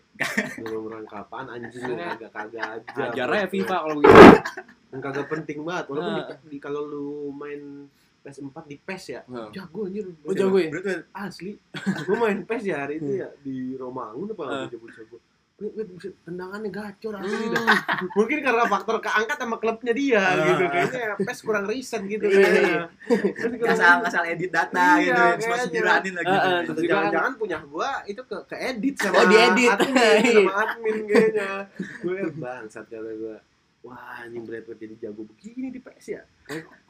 Belum orang kapan anjing lu kagak-kagak aja. Ajar aja ya, FIFA kalau gitu. begitu. Yang kagak penting banget walaupun Nah. di, di- kalau lu main PS4 di PES ya. Nah. Jago anjir. Oh, jago ya? Iya. Hmm. Bradwet. Asli. Gua main PES ya hari itu ya di Romangun Nah. apa jago-jago. Wih, wih, buset, tendangannya gacor Hmm. asli dah. Mungkin karena faktor keangkat sama klubnya dia Ah. gitu kayaknya PES kurang riset gitu Nah. Iya, iya. kayaknya. Terus kalau- nggak salah nggak salah edit data Iya, gitu ya. Terus kayaknya. diranin lagi Ah, gitu. ah, ya. terus Atau jangan-jangan punya gua itu ke ke edit sama Oh, diedit. admin, sama admin kayaknya gue bangsat kata gue wah anjing Bradford jadi jago begini di PS ya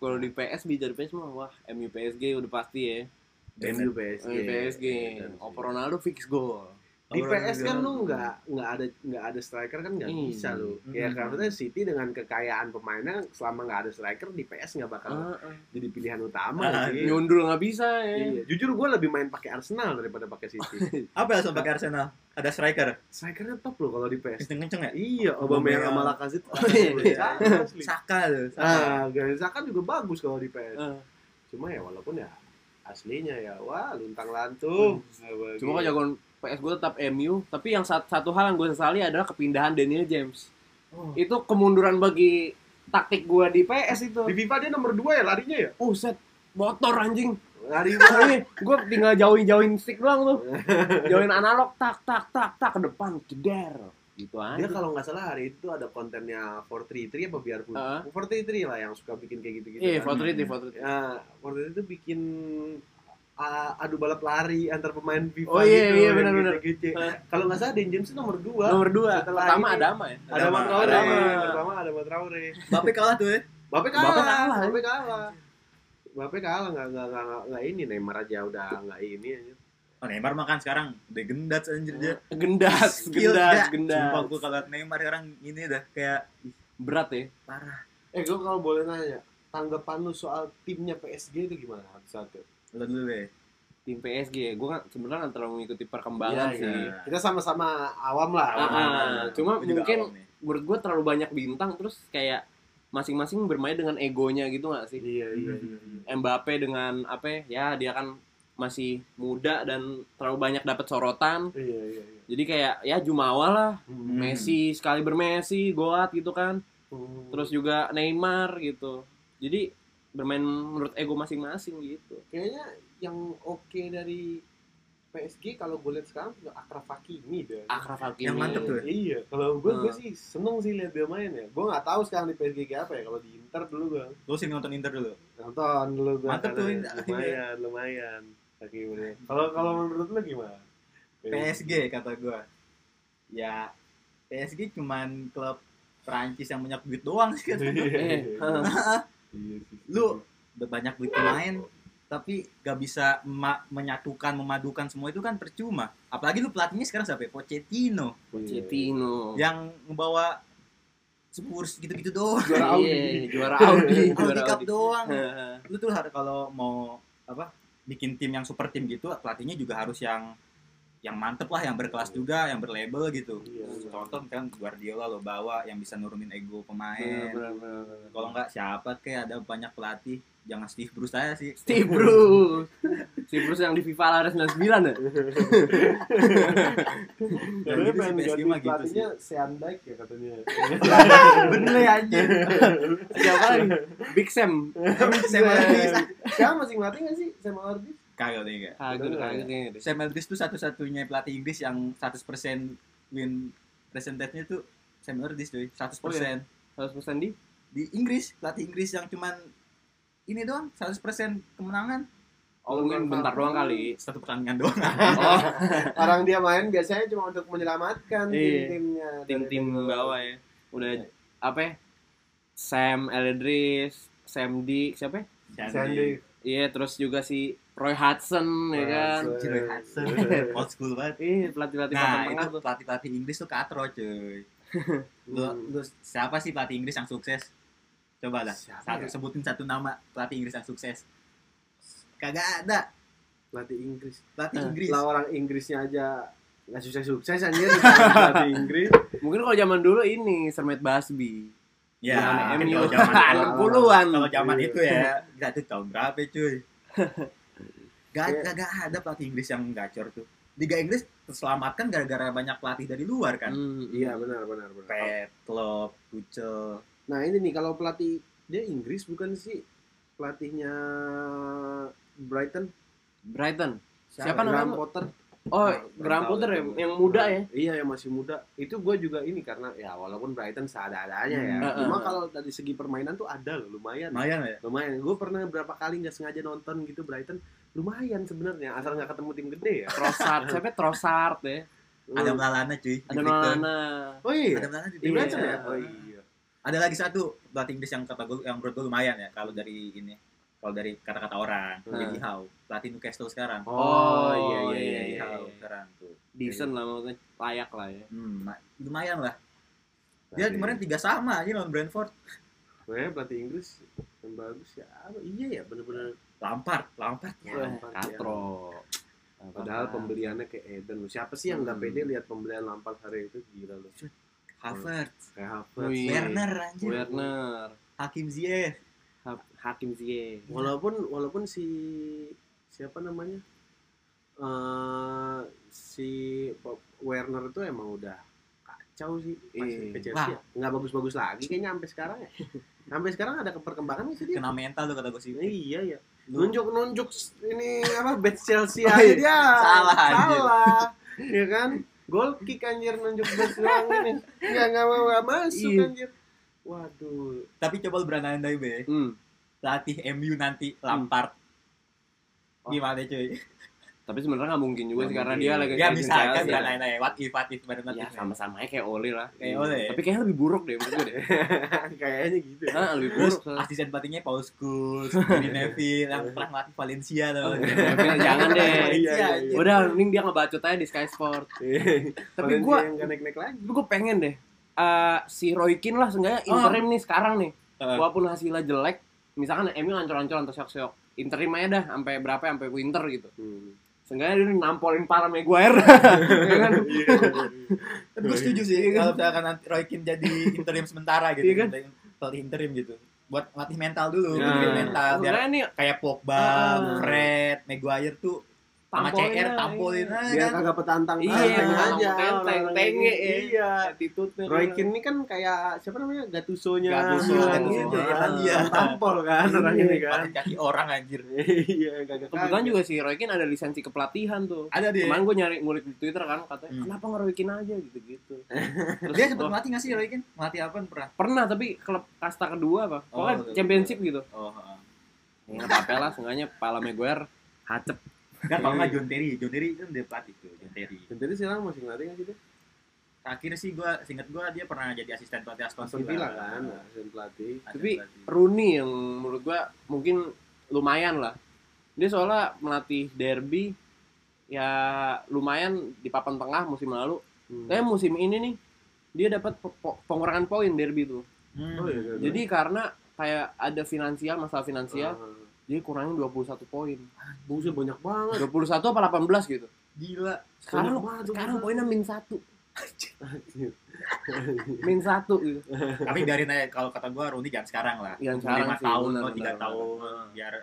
Kalau di PS bisa di PS mah wah MU PSG udah pasti ya. Bener. MU PSG MU PSG. iya, Opo Ronaldo fix gol. di Orang PS bilang, kan lu nggak nggak ada nggak ada striker kan nggak Hmm. bisa lu Hmm. ya karena City dengan kekayaan pemainnya kan selama nggak ada striker di PS nggak bakal Ah, iya. ah. jadi pilihan utama Ah, sih. Nyundul nggak bisa ya. Iya. Jujur gue lebih main pakai Arsenal daripada pakai City. apa ya sampai ke Arsenal ada striker Strikernya top loh kalau di PS. kenceng kenceng ya Iya, Aubameyang. Aubameyang sama Lacazette. iya. Asli. Saka tuh Saka. Nah. Ah, Garza kan juga bagus kalau di PS. Ah. Cuma ya walaupun ya aslinya ya wah luntang lantung. Hmm. Nah, Cuma kalau jagoan PS gue tetap MU, tapi yang sat- satu hal yang gue sesali adalah kepindahan Daniel James. Oh. Itu kemunduran bagi taktik gue di PS itu. di FIFA dia nomor 2 ya larinya ya. Oh set, motor anjing. Lari Nah, gue tinggal jauhin-jauhin stick doang tuh. Jauhin analog, tak, tak, tak, tak, ke depan, jeder. Gitu aja. dia kalau nggak salah hari itu ada kontennya 433 apa biar Ah. 433 lah yang suka bikin kayak gitu-gitu. Eh, kan. for- Fortnite, Fortnite. Nah, 433 itu bikin ah, adu balap lari antar pemain FIFA Oh, iya, gitu, iya, yang benar-benar. kece-kece. Ah. Kalau nggak salah Dan James itu nomor 2. Nomor dua, Setelah pertama ini- ada Adama ya. ada Adama, Matraore. Adama. Pertama ada Matraore. Mbappe kalah tuh ya Bape Mbappe kalah, kalah. Bape kalah. Bape kalah nggak nggak nggak nggak- nggak ini Neymar aja udah nggak ini aja. oh, Neymar makan sekarang udah gendat anjir dia Gendas, Iya. Skill gendas, nggak? kan- gendas. sumpah gue kalau liat Neymar sekarang ini udah kayak Berat ya. parah Eh, gue kalau boleh nanya, tanggapan lu soal timnya PSG itu gimana? Satu. Lo dulu deh. tim PSG ya gue kan sebenarnya nggak terlalu mengikuti perkembangan Iya, sih iya. Kita sama-sama awam lah. Ah, awam. ah. cuma Gua juga mungkin- awam nih. menurut gue terlalu banyak bintang terus kayak masing-masing bermain dengan egonya gitu nggak sih Iya, iya, Hmm. iya. Hmm. Mbappe dengan apa ya dia kan masih muda dan terlalu banyak dapat sorotan Iya, iya, iya. jadi kayak ya Jumawa lah Hmm. Hmm. Messi sekali bermessi Goat gitu kan terus juga Neymar gitu jadi bermain menurut ego masing-masing gitu kayaknya yang oke dari PSG kalau gue lihat sekarang juga Akraf Hakimi deh. Akraf Hakimi Yang mantep tuh. Iya, kalau gue gue Hmm. sih seneng sih lihat dia main ya. Gue nggak tahu sekarang di PSG kayak apa ya. Kalau di Inter dulu gue Lo sih nonton Inter dulu. Hmm. nonton dulu gue. Mantep tuh, lumayan, Hakimi. lumayan, lumayan. Hakimi. Kalau kalau menurut lu gimana? PSG kata gua. Ya PSG cuman klub Perancis yang banyak duit doang sih kan. kata gua. Iya, eh, iya. eh, Iya sih. Lu udah banyak duit pemain tapi gak bisa ma- menyatukan memadukan semua itu kan percuma apalagi lu pelatihnya sekarang siapa ya? Pochettino Iya. Pochettino yang membawa Spurs gitu-gitu doang Juara Audi. Iya, juara Audi World juara Cup Audi doang lu tuh harus kalau mau apa bikin tim yang super tim gitu pelatihnya juga harus yang yang mantep lah yang berkelas juga yang berlabel gitu Iya. contoh kan Guardiola lo bawa yang bisa nurunin ego Bener, pemain bener, bener, bener. kalau nggak siapa kayak ada banyak pelatih jangan Steve Bruce saya sih Steve Bruce Steve Bruce yang di FIFA Lares 99 ya Dan Katanya gitu sih, pengen PSG ganti mah gitu pelatihnya Sean Dyke ya katanya. bener ya anjir siapa lagi Big Sam Sam Allardyce Sekarang Iya. masih ngelatih nggak sih Sam Allardyce? kagak deh enggak kagak Bener, kagak kayaknya deh. Sam Allardyce tuh satu-satunya pelatih Inggris yang 100% win percentage-nya tuh Sam Allardyce cuy 100% 100% di di Inggris pelatih Inggris yang cuman ini doang 100% kemenangan oh mungkin bentar doang kali satu pertandingan doang oh Orang dia main biasanya cuma untuk menyelamatkan Iya. tim-timnya. tim-tim bawah ya udah apa ya? Sam Eldridge Sam D siapa ya? Sandy. iya terus juga si Roy Hudson ya kan Jiroy Hudson old school banget iya pelatih pelatih nah tengah itu tuh pelatih pelatih Inggris tuh katro cuy lu, Hmm. lu siapa sih pelatih Inggris yang sukses coba dah Siapa satu ya? sebutin satu nama pelatih Inggris yang sukses kagak ada Pelatih Inggris. pelatih Eh, Inggris Lah orang Inggrisnya aja nggak sukses-sukses anjir pelatih Inggris. mungkin kalau zaman dulu ini Sermet Basbi ya Zaman kan MU kalau zaman enam puluhan kalau zaman Iya. itu ya kita tuh tahun berapa cuy gak, Iya. gak, gak ada pelatih Inggris yang gacor tuh Liga Inggris terselamatkan gara-gara banyak pelatih dari luar kan Hmm, Iya benar benar benar. Pep, Klopp, Tuchel Nah ini nih kalau pelatih dia Inggris bukan sih pelatihnya Brighton Brighton Siapa Graham namanya? Potter oh Nah, Graham tahu Potter itu. ya, yang muda ya iya yang masih muda itu gue juga ini karena ya walaupun Brighton seada-adanya ya Hmm, cuma eh, eh. kalau dari segi permainan tuh ada loh lumayan lumayan ya lumayan gue pernah berapa kali nggak sengaja nonton gitu Brighton lumayan sebenarnya asal nggak ketemu tim gede ya Trossard siapa ya? Trossard ya ada Hmm. Malalana cuy di ada Brighton. Malana oh iya ada Malalana di di Brighton Brighton. ya oh iya ada lagi satu pelatih Inggris yang kata gue yang menurut gue lumayan ya kalau dari ini kalau dari kata-kata orang Hmm. Eddie Howe pelatih Newcastle sekarang oh iya iya iya, iya, Eddie iya. Howe sekarang tuh decent lah maksudnya layak lah ya hmm, ma- lumayan lah iya. dia kemarin tiga sama aja lawan Brentford sebenarnya pelatih Inggris yang bagus ya apa? iya ya bener-bener Lampard Lampard ya Wah, Lampard, katro Nah, Padahal pembeliannya ke Eden. loh. Siapa sih yang nggak Hmm. pede lihat pembelian Lampard hari itu gila lu. Havertz Kayak Havertz. Wih. Iya. Werner anjir Werner Hakim Ziyech Ha- Hakim Ziyech Walaupun walaupun si siapa namanya? eh si Pop- Werner itu emang udah kacau sih Iya. masih ke Chelsea. Wah. Nggak bagus-bagus lagi kayaknya sampai sekarang ya. sampai sekarang ada perkembangan sih dia. kena mental tuh kata gue sih Iya ya. Lu- Nunjuk-nunjuk ini apa bad Chelsea Oh, aja iya. dia. Salah, anjir. Salah. Iya kan? Gol kick anjir nunjuk bad doang ini. Enggak enggak mau nggak masuk Iya. anjir. Waduh. tapi coba lu berandai be hmm. pelatih MU nanti Lampard Oh. gimana cuy tapi sebenarnya nggak mungkin juga Nggak sih karena mungkin. dia lagi ya ngecoaching bisa kan Chelsea. berandai-andai what if what if bener-bener gitu. ya sama-sama aja kayak Oli lah Kayak Ole. ya. tapi kayaknya lebih buruk deh menurut gue deh Kayaknya gitu ya. Hah, lebih Terus buruk soalnya. asisten pelatihnya Paul Scholes, Gary Neville yang pernah melatih Valencia tuh. Oh, jangan deh. Valencia, Iya, iya, anjir. iya. udah mending dia ngebacot aja di Sky Sport tapi Valencia gue yang gak naik-naik lagi. gue pengen deh eh, si Roy Keane lah seenggaknya interim nih sekarang nih Eh. walaupun hasilnya jelek misalkan MU ancur-ancuran terseok-seok Inter lima ya dah sampai berapa sampai winter gitu Hmm. seenggaknya dia nampolin para Maguire Ah, ya Iya kan Tapi gue setuju sih Iya kan? kalau misalkan nanti Roy Keane jadi interim sementara gitu. Iya kan? Iya. interim- Kalau di interim gitu. Buat latih mental dulu, Nah. bikin mental biar sebenarnya ini kayak Pogba, Ah. Fred, Maguire tuh sama Tampolin CR lah, tampolin iya. aja Biar kan. kagak petantang Iya, tantang petantang aja. tenteng, orang-orang tenge, ini. ya. Iya. attitude-nya Roy dia. Keane ini kan kayak siapa namanya Gattuso-nya. Iya, gitu. Gattuso, Gattuso-nya Gattuso, Irlandia. ya. Tampol kan orang ini kan. Patin kaki orang anjir. Iya, kagak kebetulan juga si Roy Keane ada lisensi kepelatihan tuh Ada dia. Kemarin gue nyari ngulik di Twitter kan katanya Iya. Hmm. kenapa ngeroikin aja gitu-gitu. Terus Dia sempet wah, melatih nggak sih Roy Keane? Melatih apa pernah? pernah tapi klub kasta kedua apa? Oh, Iya. Pokoknya betul. championship gitu. Oh, Enggak apa-apa lah seenggaknya pala Maguire hacep. Kan kalau nggak John Terry, John Terry kan dia pelatih tuh, John Terry. Jadi sekarang masih ngelatih kan gitu? Terakhir sih gua, singkat gua dia pernah jadi asisten pelatih Aston Aston Villa kan, asisten pelatih. Asisten Tapi pelatih. Rooney yang menurut gua mungkin lumayan lah. Dia soalnya melatih derby ya lumayan di papan tengah musim lalu. Hmm. Tapi musim ini nih dia dapat po- po- pengurangan poin derby tuh. Hmm. Oh, iya, iya, iya. Jadi karena kayak ada finansial masalah finansial, Ah. jadi kurangin 21 poin. Buset banyak banget. 21 apa 18 gitu. Gila. Sekarang banget, sekarang banyak poinnya min satu, banget. min satu gitu. Tapi biarin aja kalau kata gua Rooney jangan sekarang lah. Jangan Tunggu sekarang lima sih, tahun benar, atau tiga benar, tahun biar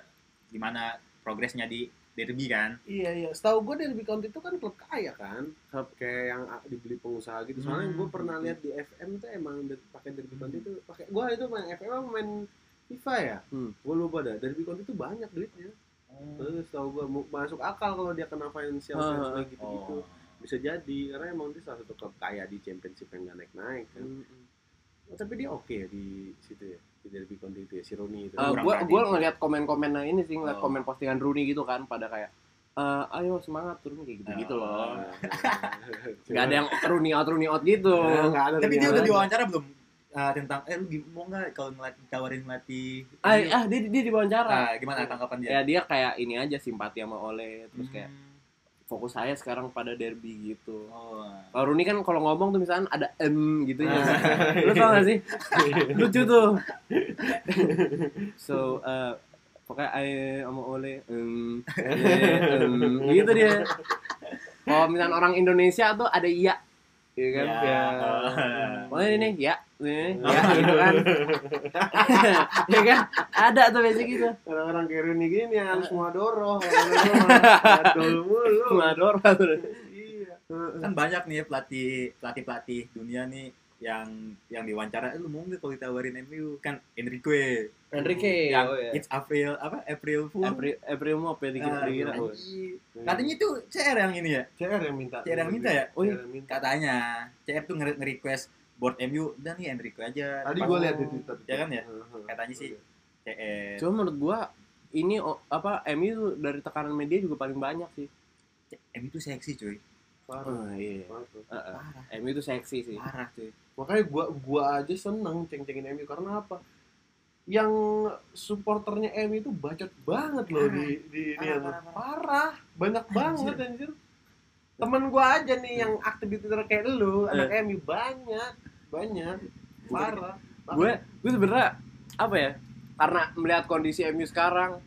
gimana progresnya di derby kan. Iya iya, setahu gue Derby County itu kan klub kaya kan, Klub. kayak yang a- dibeli pengusaha gitu. Hmm. Soalnya Hmm. gue pernah lihat di FM tuh emang de- pakai Derby County itu pakai gue itu main FM apa main FIFA ya, Hmm. gue lupa dah. Derby County itu banyak duitnya. Terus setahu gue masuk akal kalau dia kena financial Ah, fair play ah, gitu-gitu. Oh. Bisa jadi karena emang dia salah satu klub kaya di championship yang gak naik-naik kan. Oh, tapi dia oke ya di situ ya di Derby County itu ya, si Rooney itu. Eh, Kurang gua berani. gua ngeliat komen-komennya ini sih ngeliat Oh. komen postingan Rooney gitu kan pada kayak eh ayo semangat turun kayak gitu Ya. gitu Iya. loh. Ah. Gak ada yang Rooney out Rooney out gitu. Ah, nggak ada Tapi Rooney dia udah out. diwawancara belum Ah, tentang eh lu gim- mau nggak kalau ngelat tawarin melatih Ah, ini? ah dia dia diwawancara. Ah, gimana tanggapan dia? Ya dia kayak ini aja simpati sama Ole terus Hmm. kayak fokus saya sekarang pada derby gitu. Oh. Kalau Rooney kan kalau ngomong tuh misalnya ada M gitu ya. Nah. Lu tau gak sih? Lucu tuh. so, uh, pokoknya I sama Ole, em, eh, em, gitu dia. Kalau misalnya orang Indonesia tuh ada iya. Iya kan? Ya. Ya. Oh. Pokoknya ini ya, ini ya gitu kan. ya kan? Ada tuh biasanya gitu. orang-orang kayak Rooney gini ya. harus ngadoro ngadol mulu Mador. iya kan banyak nih pelatih pelatih pelatih dunia nih yang yang diwawancara eh, lu mau nggak kalau ditawarin MU kan Enrique Enrique. yang oh, ya. it's April apa April Fool April, April mau Ah, apa ya dikira-kira. April. anjing. katanya itu CR yang ini ya CR yang minta CR yang minta ya? oh iya minta katanya CR tuh nge- nge-request board MU dan nih Enrique aja tadi Pas- gue lihat di twitter Ya kan ya? katanya sih CR Cuma menurut gua ini o- apa MU tuh dari tekanan media juga paling banyak sih. C- MU tuh seksi cuy Parah. iya. Parah. parah MU itu seksi sih. parah cuy makanya gua gua aja seneng ceng-cengin MU karena apa yang supporternya MU itu bacot banget loh di di di Parah, parah, parah, banyak banget anjir temen gua aja nih yang aktif di Twitter kayak lu Eh. anak MU banyak banyak parah Gue gue sebenarnya apa ya? Karena melihat kondisi MU sekarang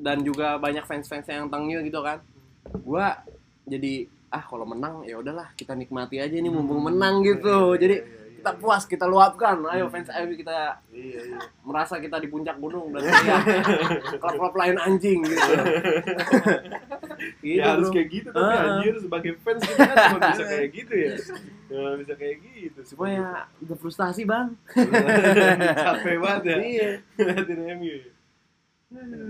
dan juga banyak fans-fans yang tengil gitu kan. Gua jadi ah kalau menang ya udahlah kita nikmati aja nih mumpung Hmm. menang Iya, gitu. Jadi kita puas, kita luapkan. Ayo Hmm. fans MU kita iya iya merasa kita di puncak gunung dan melihat klub-klub lain anjing gitu. gitu ya harus bro. kayak gitu tapi Ah. anjir sebagai fans kita kan cuma bisa kayak gitu ya cuma bisa kayak gitu Cuma ya udah frustasi bang capek banget ya Iya ngeliatin MU ya.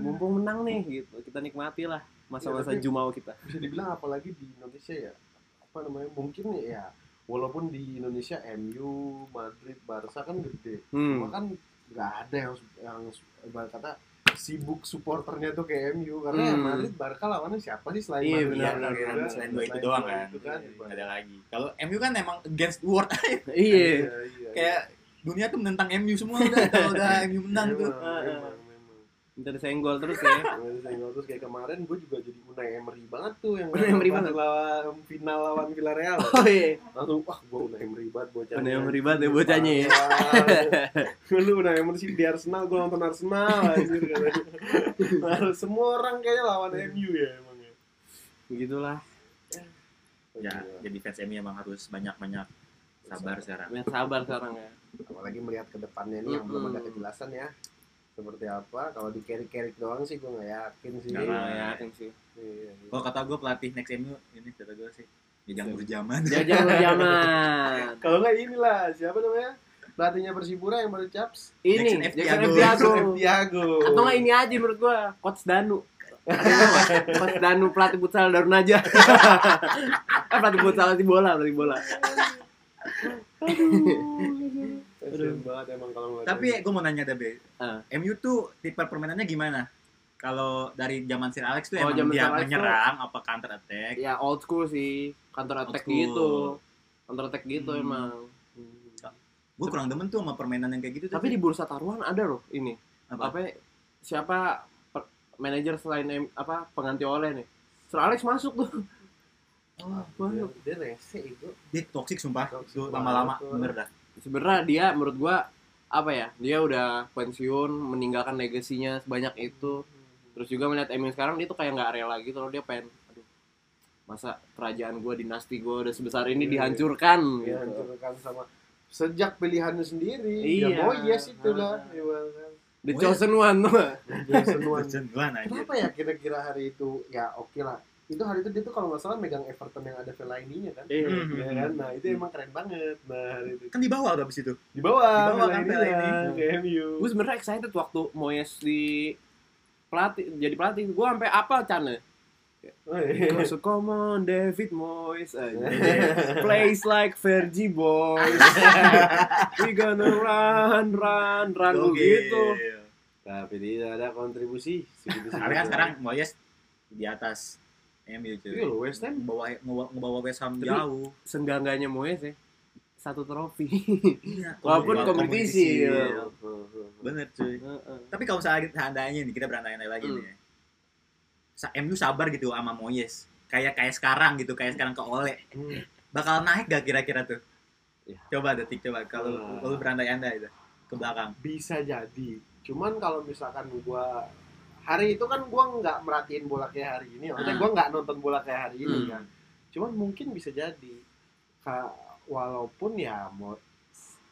Mumpung menang nih gitu Kita nikmati lah Masa-masa Iya, tapi- jumawa kita bisa dibilang apalagi di Indonesia ya apa namanya mungkin ya walaupun di Indonesia MU Madrid Barca kan gede cuma hmm. kan nggak ada yang yang ibarat kata sibuk supporternya tuh kayak MU karena ya Hmm. Madrid Barca lawannya siapa sih selain Iya, Madrid benar, Iya, Barca benar, juga? kan, selain dua itu doang kan, itu Nggak ada lagi kalau MU kan emang against world Iya iya. kayak dunia tuh menentang MU semua udah kalau udah MU menang tuh Ah, Memang, memang, memang. Minta disenggol terus ya Terus yang terus kayak kemarin gue juga jadi Unai Emery banget tuh yang Unai Emery banget. lawan final lawan Villarreal. Oh iya. Langsung wah gua Unai Emery banget bocahnya. Unai Emery banget ya bocahnya ya. Wah, Lu Unai Emery sih di Arsenal gua nonton Arsenal anjir katanya. Harus semua orang kayaknya lawan MU ya emang ya. Begitulah. Iya, ya jadi fans MU emang harus banyak banyak sabar sekarang Banyak sabar sekarang ya. apalagi melihat ke depannya nih yang belum ada Mm-mm. kejelasan ya seperti apa kalau di carry carry doang sih gue nggak yakin sih Nggak lah. Oh. Nah, yakin sih. Iya, iya. kalau kata gue pelatih next MU ini kata gue sih jajang Siapa? berjaman Jajang zaman. kalau nggak inilah siapa namanya pelatihnya Persipura yang baru caps Ini Jackson F. Jackson Diago. F. Diago. Diago Atau nggak ini aja menurut gua, Coach Danu. Coach Danu pelatih futsal Darun aja. Eh, pelatih futsal pelatih bola, pelatih bola. Kasian banget emang kalau ngeliat tapi ya, ini. gue mau nanya deh Be. Ah. MU tuh tipe permainannya gimana kalau dari zaman Sir Alex tuh Oh, emang zaman dia Sir Alex tuh- menyerang apa counter attack Ya old school sih, counter attack Old school. gitu. Counter attack gitu Hmm. emang. gue kurang demen tuh sama permainan yang kayak gitu tuh. Tapi di bursa taruhan ada loh ini. Apa? Apa, siapa per- manajer selain em- apa pengganti oleh nih? Sir Alex masuk tuh. Oh, Dia- dia rese itu dia toxic sumpah Toxic tuh banget lama-lama tuh. bener dah sebenarnya dia menurut gua apa ya dia udah pensiun meninggalkan legasinya sebanyak itu Hmm. terus juga melihat Emil sekarang dia tuh kayak nggak rela gitu loh dia pengen aduh masa kerajaan gua dinasti gua udah sebesar ini Iya, dihancurkan dia gitu. hancurkan sama sejak pilihannya sendiri Iya. ya mau yes Ah. itulah Iya, kan. the chosen one tuh Jason Wan. Kecenduan aja Kenapa ya kira-kira hari itu ya oke lah. Itu hari itu dia tuh kalau nggak salah megang Everton yang ada Fellaini-nya kan. Iya. Hmm. Ya kan? Nah itu emang keren banget. Nah hari itu kan di bawah tuh abis itu di bawah, Di bawah kan Fellaini-nya ke MU. gua sebenarnya excited waktu Moyes di pelatih jadi pelatih gua sampai apa Chan So come on David Moyes aja. Plays like Fergie boys We gonna run run run gitu Tapi tidak ada kontribusi. segitu tapi kan sekarang Moyes di atas MU cuy Iya loh, West Ham. ngebawa ngebawa- ngebawa West Ham Tapi- jauh Senggangganya Moyes ya Satu trofi Iya, Walaupun kompetisi. kompetisi, iya. bener cuy Heeh. tapi kalau misalnya seandainya nih kita berandai-andai lagi nih Hmm. ya. Sa- MU sabar gitu sama Moyes kayak kayak sekarang gitu kayak sekarang ke Ole Hmm. bakal naik gak kira-kira tuh Ya. coba detik coba kalau Wah. kalau berandai-andai itu ke belakang Bisa jadi. Cuman kalau misalkan gua hari itu kan gua nggak merhatiin bola kayak hari ini. Maksudnya Ah. Hmm. gua nggak nonton bola kayak hari Hmm. ini kan. Cuman mungkin bisa jadi. Ka- walaupun ya mau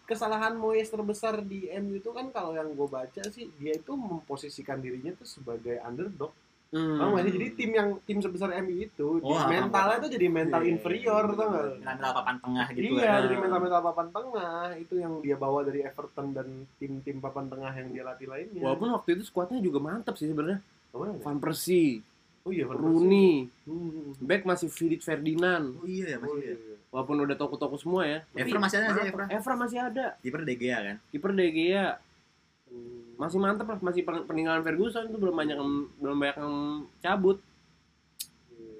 kesalahan Moyes terbesar di MU itu kan kalau yang gue baca sih dia itu memposisikan dirinya tuh sebagai underdog Hmm. Paham gak sih? Jadi tim yang tim sebesar MU itu di- Oh, paham, mentalnya paham. tuh jadi mental ah, Iya, inferior iya, tuh iya. mental papan tengah gitu Iya, kan. jadi mental-mental papan tengah itu yang dia bawa dari Everton dan tim-tim papan tengah yang dia latih lainnya. Walaupun waktu itu skuadnya juga mantep sih sebenarnya. Kemana ya? Van Persie, oh iya, Van Persie. Rooney, Hmm. back masih Philip Ferdinand. oh iya ya Oh, masih iya. ada. Walaupun udah toko-toko semua ya. Evra masih ada sih Evra Evra masih ada. kiper De Gea kan Kiper De Gea Hmm. masih mantep lah masih pen- peninggalan Ferguson itu belum banyak yang, belum banyak yang cabut Iya.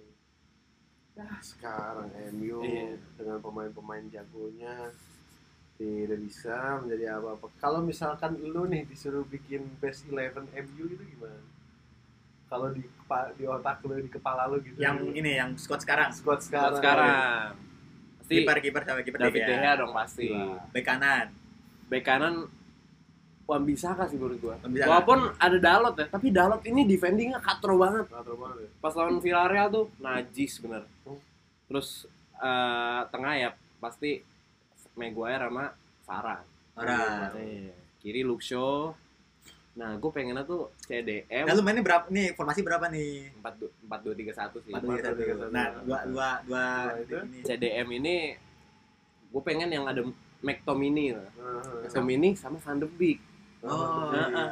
Yah, Ya, sekarang MU Iya. dengan pemain-pemain jagonya tidak bisa menjadi apa-apa. Kalau misalkan lu nih disuruh bikin best 11 MU itu gimana? Kalau di kepa- di otak lu di kepala lu gitu. yang ini yang squad sekarang squad sekarang. sekarang pasti iya. kiper kiper sama kiper De David Gea De Iya. Gea dong pasti Gila. bek kanan bek kanan Wan bisa kasih menurut gua Wan-Bissaka. walaupun ada Dalot ya tapi Dalot ini defendingnya katro banget Nggak terlalu banget ya? pas lawan Villarreal tuh najis bener Hmm. terus eh, tengah ya pasti Maguire sama Farah orang kiri Luxo nah gue pengennya tuh CDM lalu mainnya berapa nih formasi berapa nih empat du- empat dua tiga satu sih Empat, dua, tiga, satu. nah dua dua dua Dua itu. ini. CDM ini gue pengen yang ada McTominay lah Heeh. McTominay sama Van de Beek oh Nah, iya.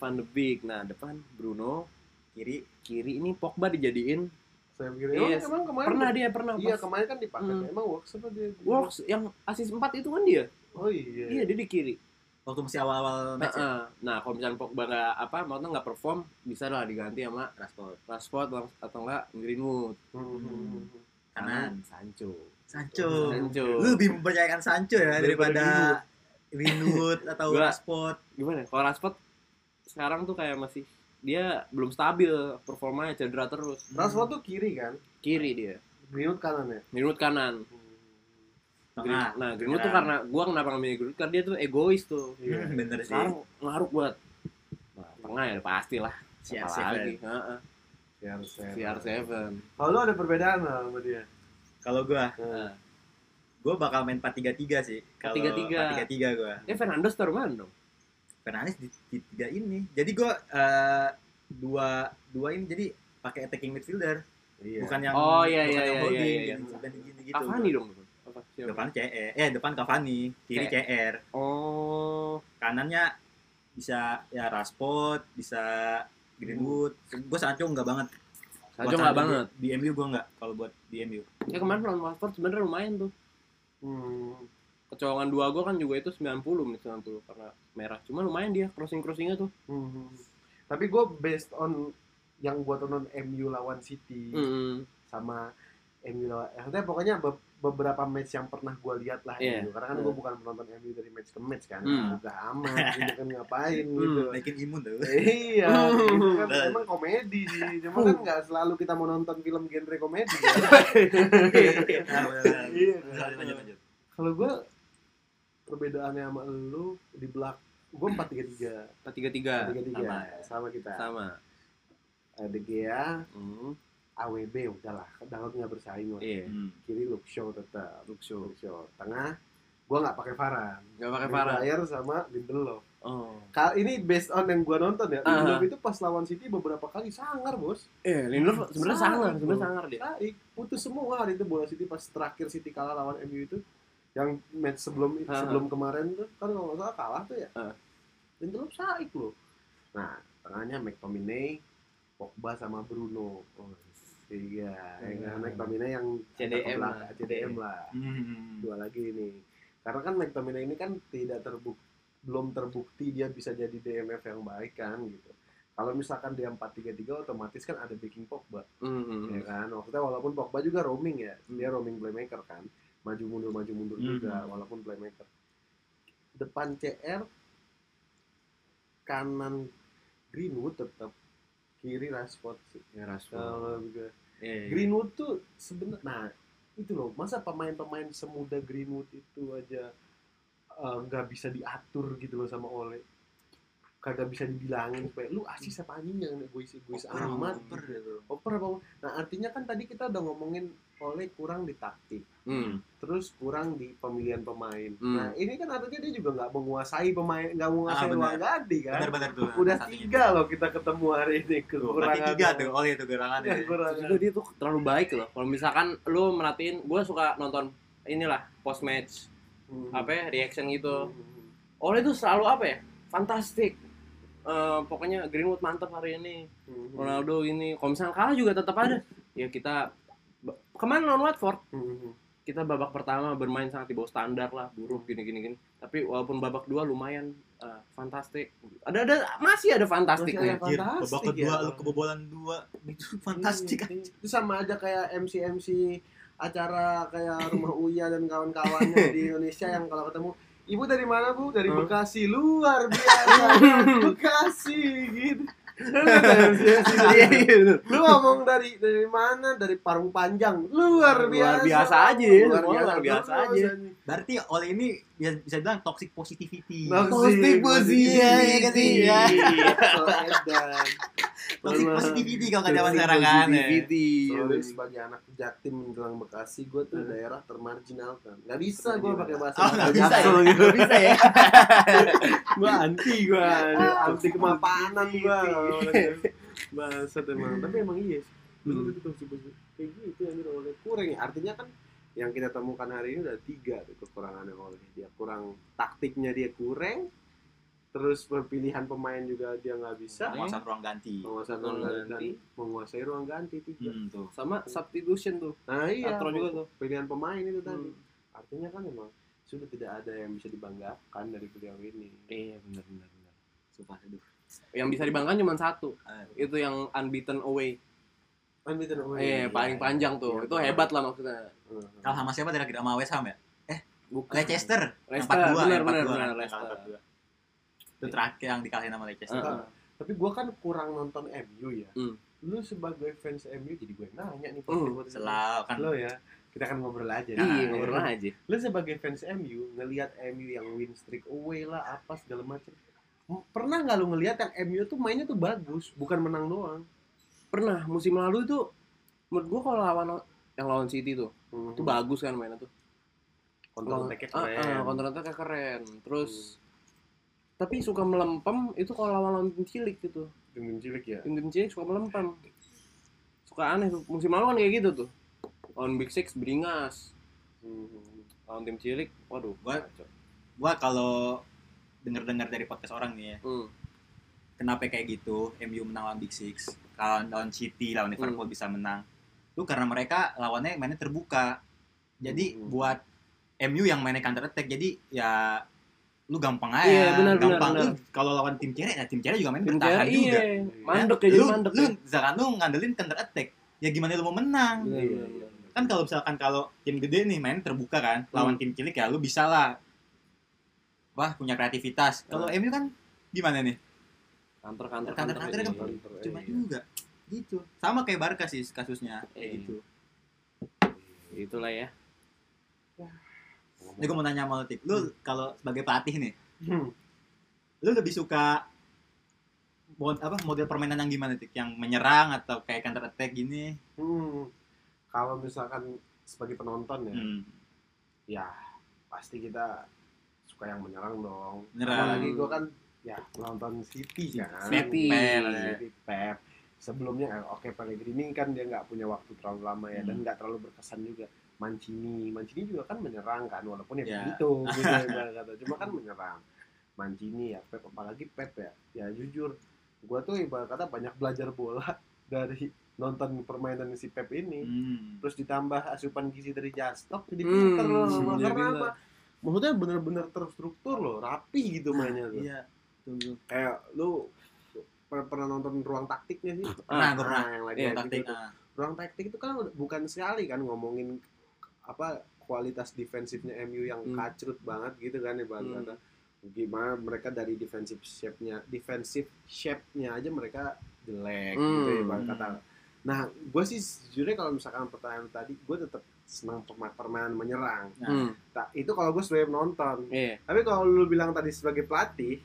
Van de Beek nah depan Bruno kiri kiri ini Pogba dijadiin Saya pikir emang, Yes. emang kemarin pernah dia pernah Iya, pas kemarin kan dipakai. Hmm. Emang works apa dia? Works yang asis 4 itu kan dia Oh iya. iya dia di kiri waktu masih awal awal match ya? Heeh. nah kalau misalnya Pogba nggak apa maksudnya nggak perform bisa lah diganti ya, sama Rashford Rashford lang- atau enggak Greenwood Hmm. kanan Sancho Sancho Sancho lu lebih mempercayakan Sancho ya daripada Winwood atau Gua- Rashford gimana kalau Rashford sekarang tuh kayak masih dia belum stabil performanya cedera terus Rashford tuh kiri kan, kiri dia Greenwood kanan ya. Greenwood kanan Hmm. Tengah. Green- nah Greenwood tuh Kanan. karena gua kenapa ngambil Greenwood karena dia tuh egois tuh Iya. Hmm, bener sih. sekarang ngaruh buat nah, tengah ya pasti lah Si Apa Arsenal. lagi? Heeh, CR7. CR7 Kalau lu ada perbedaan lah sama dia. Kalau gua, Nah, gua bakal main 4-3-3 sih. Kalau 4-3-3. 4-3-3 gua. eh Fernandes taruh mana dong Fernandes di, di tiga ini. Jadi gua eh, dua dua ini jadi pakai attacking midfielder, Iya. bukan yang Oh, bukan iya, iya, yang iya, holding iya, iya. gitu, bukan yang gini gitu. Cavani dong apa siapa? Depan CE, eh depan Cavani, kiri CR, oh kanannya bisa ya Rashford, bisa Greenwood. Gua Sancho enggak banget. Buat Hmm. Sancho nggak Sancho banget Di MU gua enggak kalau buat di MU. ya kemarin lawan Watford sebenarnya lumayan tuh Hmm. kecolongan dua gol kan juga itu 90 menit 90 karena merah cuma lumayan dia crossing crossingnya tuh Hmm. Tapi gue based on yang gue tonton MU lawan City Mm-mm. sama MU lawan, eh, maksudnya pokoknya be- beberapa match yang pernah gue lihat lah Iya. MU. Karena kan gue bukan penonton MU dari match ke match kan, Hmm. udah amat gitu kan ngapain gitu. Bikin imun tuh. Nah, Iya, itu kan Nah. Hmm. emang komedi sih. Cuma kan nggak selalu kita mau nonton film genre komedi. ya. Nah, bener-bener. Iya. Lanjut, lanjut, lanjut. Kalau gue perbedaannya sama lu di belak, gue empat tiga tiga, empat tiga tiga tiga tiga, sama sama kita. sama Ada Gea, Hmm, AWB udahlah, Dalot nggak bersaing lah. iya Hmm. Kiri Luke Shaw tetap, Luke Shaw. Luke Shaw. Tengah, gue nggak pakai Varan. nggak pakai parah Maguire sama Lindelof. oh Kal ini based on yang gue nonton ya. Aha. Lindelof itu pas lawan City beberapa kali sangar bos. eh Lindelof sebenarnya Sangar, sangar sebenarnya bro. sangar dia Tarik, putus semua hari itu bola City pas terakhir City kalah lawan MU itu. Yang match sebelum Aha. sebelum kemarin tuh kan kalau nggak salah kalah tuh ya. Ah. Lindelof saik loh. Nah tengahnya McTominay, Pogba sama Bruno. Oh, iya, Iya. yang McTominay yang CDM lah. lah. CDM lah. Hmm. dua lagi ini karena kan McTominay ini kan tidak terbuk belum terbukti dia bisa jadi DMF yang baik kan gitu kalau misalkan dia 4-3-3 otomatis kan ada backing Pogba Hmm, Mm-mm. ya kan maksudnya walaupun Pogba juga roaming ya dia roaming playmaker kan maju mundur maju mundur Hmm. juga walaupun playmaker depan CR kanan Greenwood tetap kiri Rashford sih ya Rashford kalau gue Iya. Eh, Greenwood tuh sebenarnya nah itu loh masa pemain-pemain semuda Greenwood itu aja eh, nggak bisa diatur gitu loh sama Ole kagak bisa dibilangin supaya lu asis apa anjing yang egois egois Oper, amat oper gitu. oper apa nah artinya kan tadi kita udah ngomongin Ole kurang di taktik mm. terus kurang di pemilihan pemain Hmm. nah ini kan artinya dia juga nggak menguasai pemain nggak menguasai Ah, benar. ruang ganti kan Benar-benar tuh. udah Satunya. tiga loh kita ketemu hari ini Tuh, berarti kekurangan tiga tuh. Oleh itu gerangannya. kekurangan Terus juga gitu dia tuh terlalu baik loh kalau misalkan lu merhatiin gue suka nonton inilah post match Hmm. apa ya reaction gitu Hmm. Oleh itu selalu apa ya? Fantastik. Eh, pokoknya Greenwood mantap hari ini. Hmm. Ronaldo ini. Kalau misalnya kalah juga tetap ada. Ya kita ba- kemarin lawan Watford Hmm. kita babak pertama bermain sangat di bawah standar lah buruk gini gini gini tapi walaupun babak dua lumayan eh, fantastik ada ada masih ada fantastiknya Masih Anjir, Fantastik babak ya. Iya. kedua lu kebobolan dua. Itu fantastik kan. Hmm, Itu sama aja kayak MC MC acara kayak rumah Uya dan kawan-kawannya di Indonesia yang kalau ketemu Ibu dari mana bu? Dari Hmm. Bekasi luar biasa Bekasi gitu. Lu kata MC-MC Iya, gitu. Lu ngomong dari dari mana? Dari Parung Panjang luar biasa. Luar biasa aja ya, Luar semua biasa, luar biasa terus aja. anjing. Berarti oleh ini bisa, bisa bilang toxic positivity. Toxic positivity. Iya, iya kan sih, iya. Edan. Toxic Memang. positivity kalau kata Toxic sekarang kan. ya. Iya, Sorry, ya. sebagai anak Jaktim menjelang Bekasi, gue tuh daerah termarginalkan. Gak bisa gue pakai bahasa Oh, nggak bisa ya. Jaksel gitu. Nggak bisa ya. Gue anti gue, anti kemapanan gue. Bahasa emang, tapi emang iya sih. Bener itu tuh, sih. Kayak gitu yang oleh kurang ya. Artinya kan yang kita temukan hari ini udah tiga tuh kekurangannya oleh dia kurang taktiknya dia kurang terus pemilihan pemain juga dia nggak bisa Penguasaan Hmm. ruang ganti. menguasai ruang ganti menguasai ruang ganti tiga Hmm, tuh. sama substitution tuh nah iya Atro juga tuh pilihan pemain itu tadi Hmm. artinya kan memang sudah tidak ada yang bisa dibanggakan dari beliau ini iya benar benar benar Sumpah, aduh. yang bisa dibanggakan cuma satu Ah, Iya. itu yang unbeaten away kan itu namanya Eh, paling panjang tuh. Iya, itu benar. hebat lah maksudnya. Hmm. Kalah sama siapa terakhir sama West Ham ya? Bukan. Leicester. Yang 4-2, Leicester, benar yang 4-2, benar benar yang kalah Leicester. 4-2. Itu terakhir yang dikalahin sama Leicester. Heeh. Tapi gue kan kurang nonton MU ya. Hmm. Lu sebagai fans MU jadi gue nanya nih Hmm, buat selalu kan lo ya. Kita kan ngobrol aja. Iya, Ya. ngobrol aja. Lu sebagai fans MU ngelihat MU yang win streak away lah apa segala macam. Pernah nggak lu ngelihat yang MU tuh mainnya tuh bagus, bukan menang doang. Pernah musim lalu itu menurut gua kalau lawan yang lawan City tuh, itu Itu bagus kan mainnya tuh. kontrol attack Ah, ah, counter attack-nya keren. Terus tapi suka melempem itu kalau lawan lawan tim cilik gitu. tim cilik ya. Tim tim cilik suka melempem. Suka aneh tuh. Musim lalu kan kayak gitu tuh. Lawan Big Six beringas. Hmm. Lawan tim cilik, waduh, Gua- kacau. gua kalau denger-dengar dari podcast orang nih ya Hmm. kenapa kayak gitu MU menang lawan Big Six lawan lawan City lawan Liverpool Hmm. bisa menang itu karena mereka lawannya mainnya terbuka jadi Hmm. buat MU yang mainnya counter attack jadi ya lu gampang aja Iya, benar, benar, gampang benar. Lu kalau lawan tim cere ya tim cere juga main Tim bertahan CR, juga iya. Ya, Mandek ya, jadi lu, mandek. lu misalkan lu ngandelin counter attack ya gimana lu mau menang Bener, Iya, bener, bener. kan kalau misalkan kalau tim gede nih main terbuka kan Hmm. lawan tim cilik ya lu bisa lah wah punya kreativitas kalau Hmm. MU kan gimana nih Kantor kantor Kantor- kantor aja. kan Oh, cuma iya. juga gitu sama kayak Barca sih kasusnya kayak Iya. gitu Itulah ya. ini gue mau nanya sama lu Tik. Hmm. lu kalau sebagai pelatih nih lu lebih suka mod, apa model permainan yang gimana tik yang menyerang atau kayak counter attack gini Hmm. Kalau misalkan sebagai penonton ya, hmm. ya pasti kita suka yang menyerang dong. Menyerang. Apalagi gue kan ya nonton City kan. City. Pep, ya. City Pep. Sebelumnya eh, oke Pellegrini kan dia nggak punya waktu terlalu lama ya dan Hmm. nggak terlalu berkesan juga. Mancini, Mancini juga kan menyerang kan walaupun Ya. ya begitu gitu ya, ibarat kata. Cuma kan menyerang. Mancini ya Pep apalagi Pep ya. Ya jujur gue tuh ibarat kata banyak belajar bola dari nonton permainan si Pep ini Hmm. terus ditambah asupan gizi dari Jastok jadi Hmm, pinter loh iya, jadi Karena pinter. apa? maksudnya bener-bener terstruktur loh rapi gitu mainnya tuh iya Tuh, tuh. kayak lu per- pernah nonton ruang taktiknya sih pernah gue pernah nah, yang lagi iya kayak taktik gitu tuh. ah. ruang taktik itu kan udah- bukan sekali kan ngomongin apa kualitas defensifnya MU yang Hmm. kacrut banget gitu kan ibarat Hmm. kata. gimana mereka dari defensive shape-nya defensive shape-nya aja mereka jelek gitu Hmm. ibarat kata nah gue sih sejujurnya kalau misalkan pertanyaan tadi gue tetap senang perma- permainan menyerang Nah, Hmm. Tak- itu kalau gue sebagai penonton Iya. tapi kalau lu bilang tadi sebagai pelatih,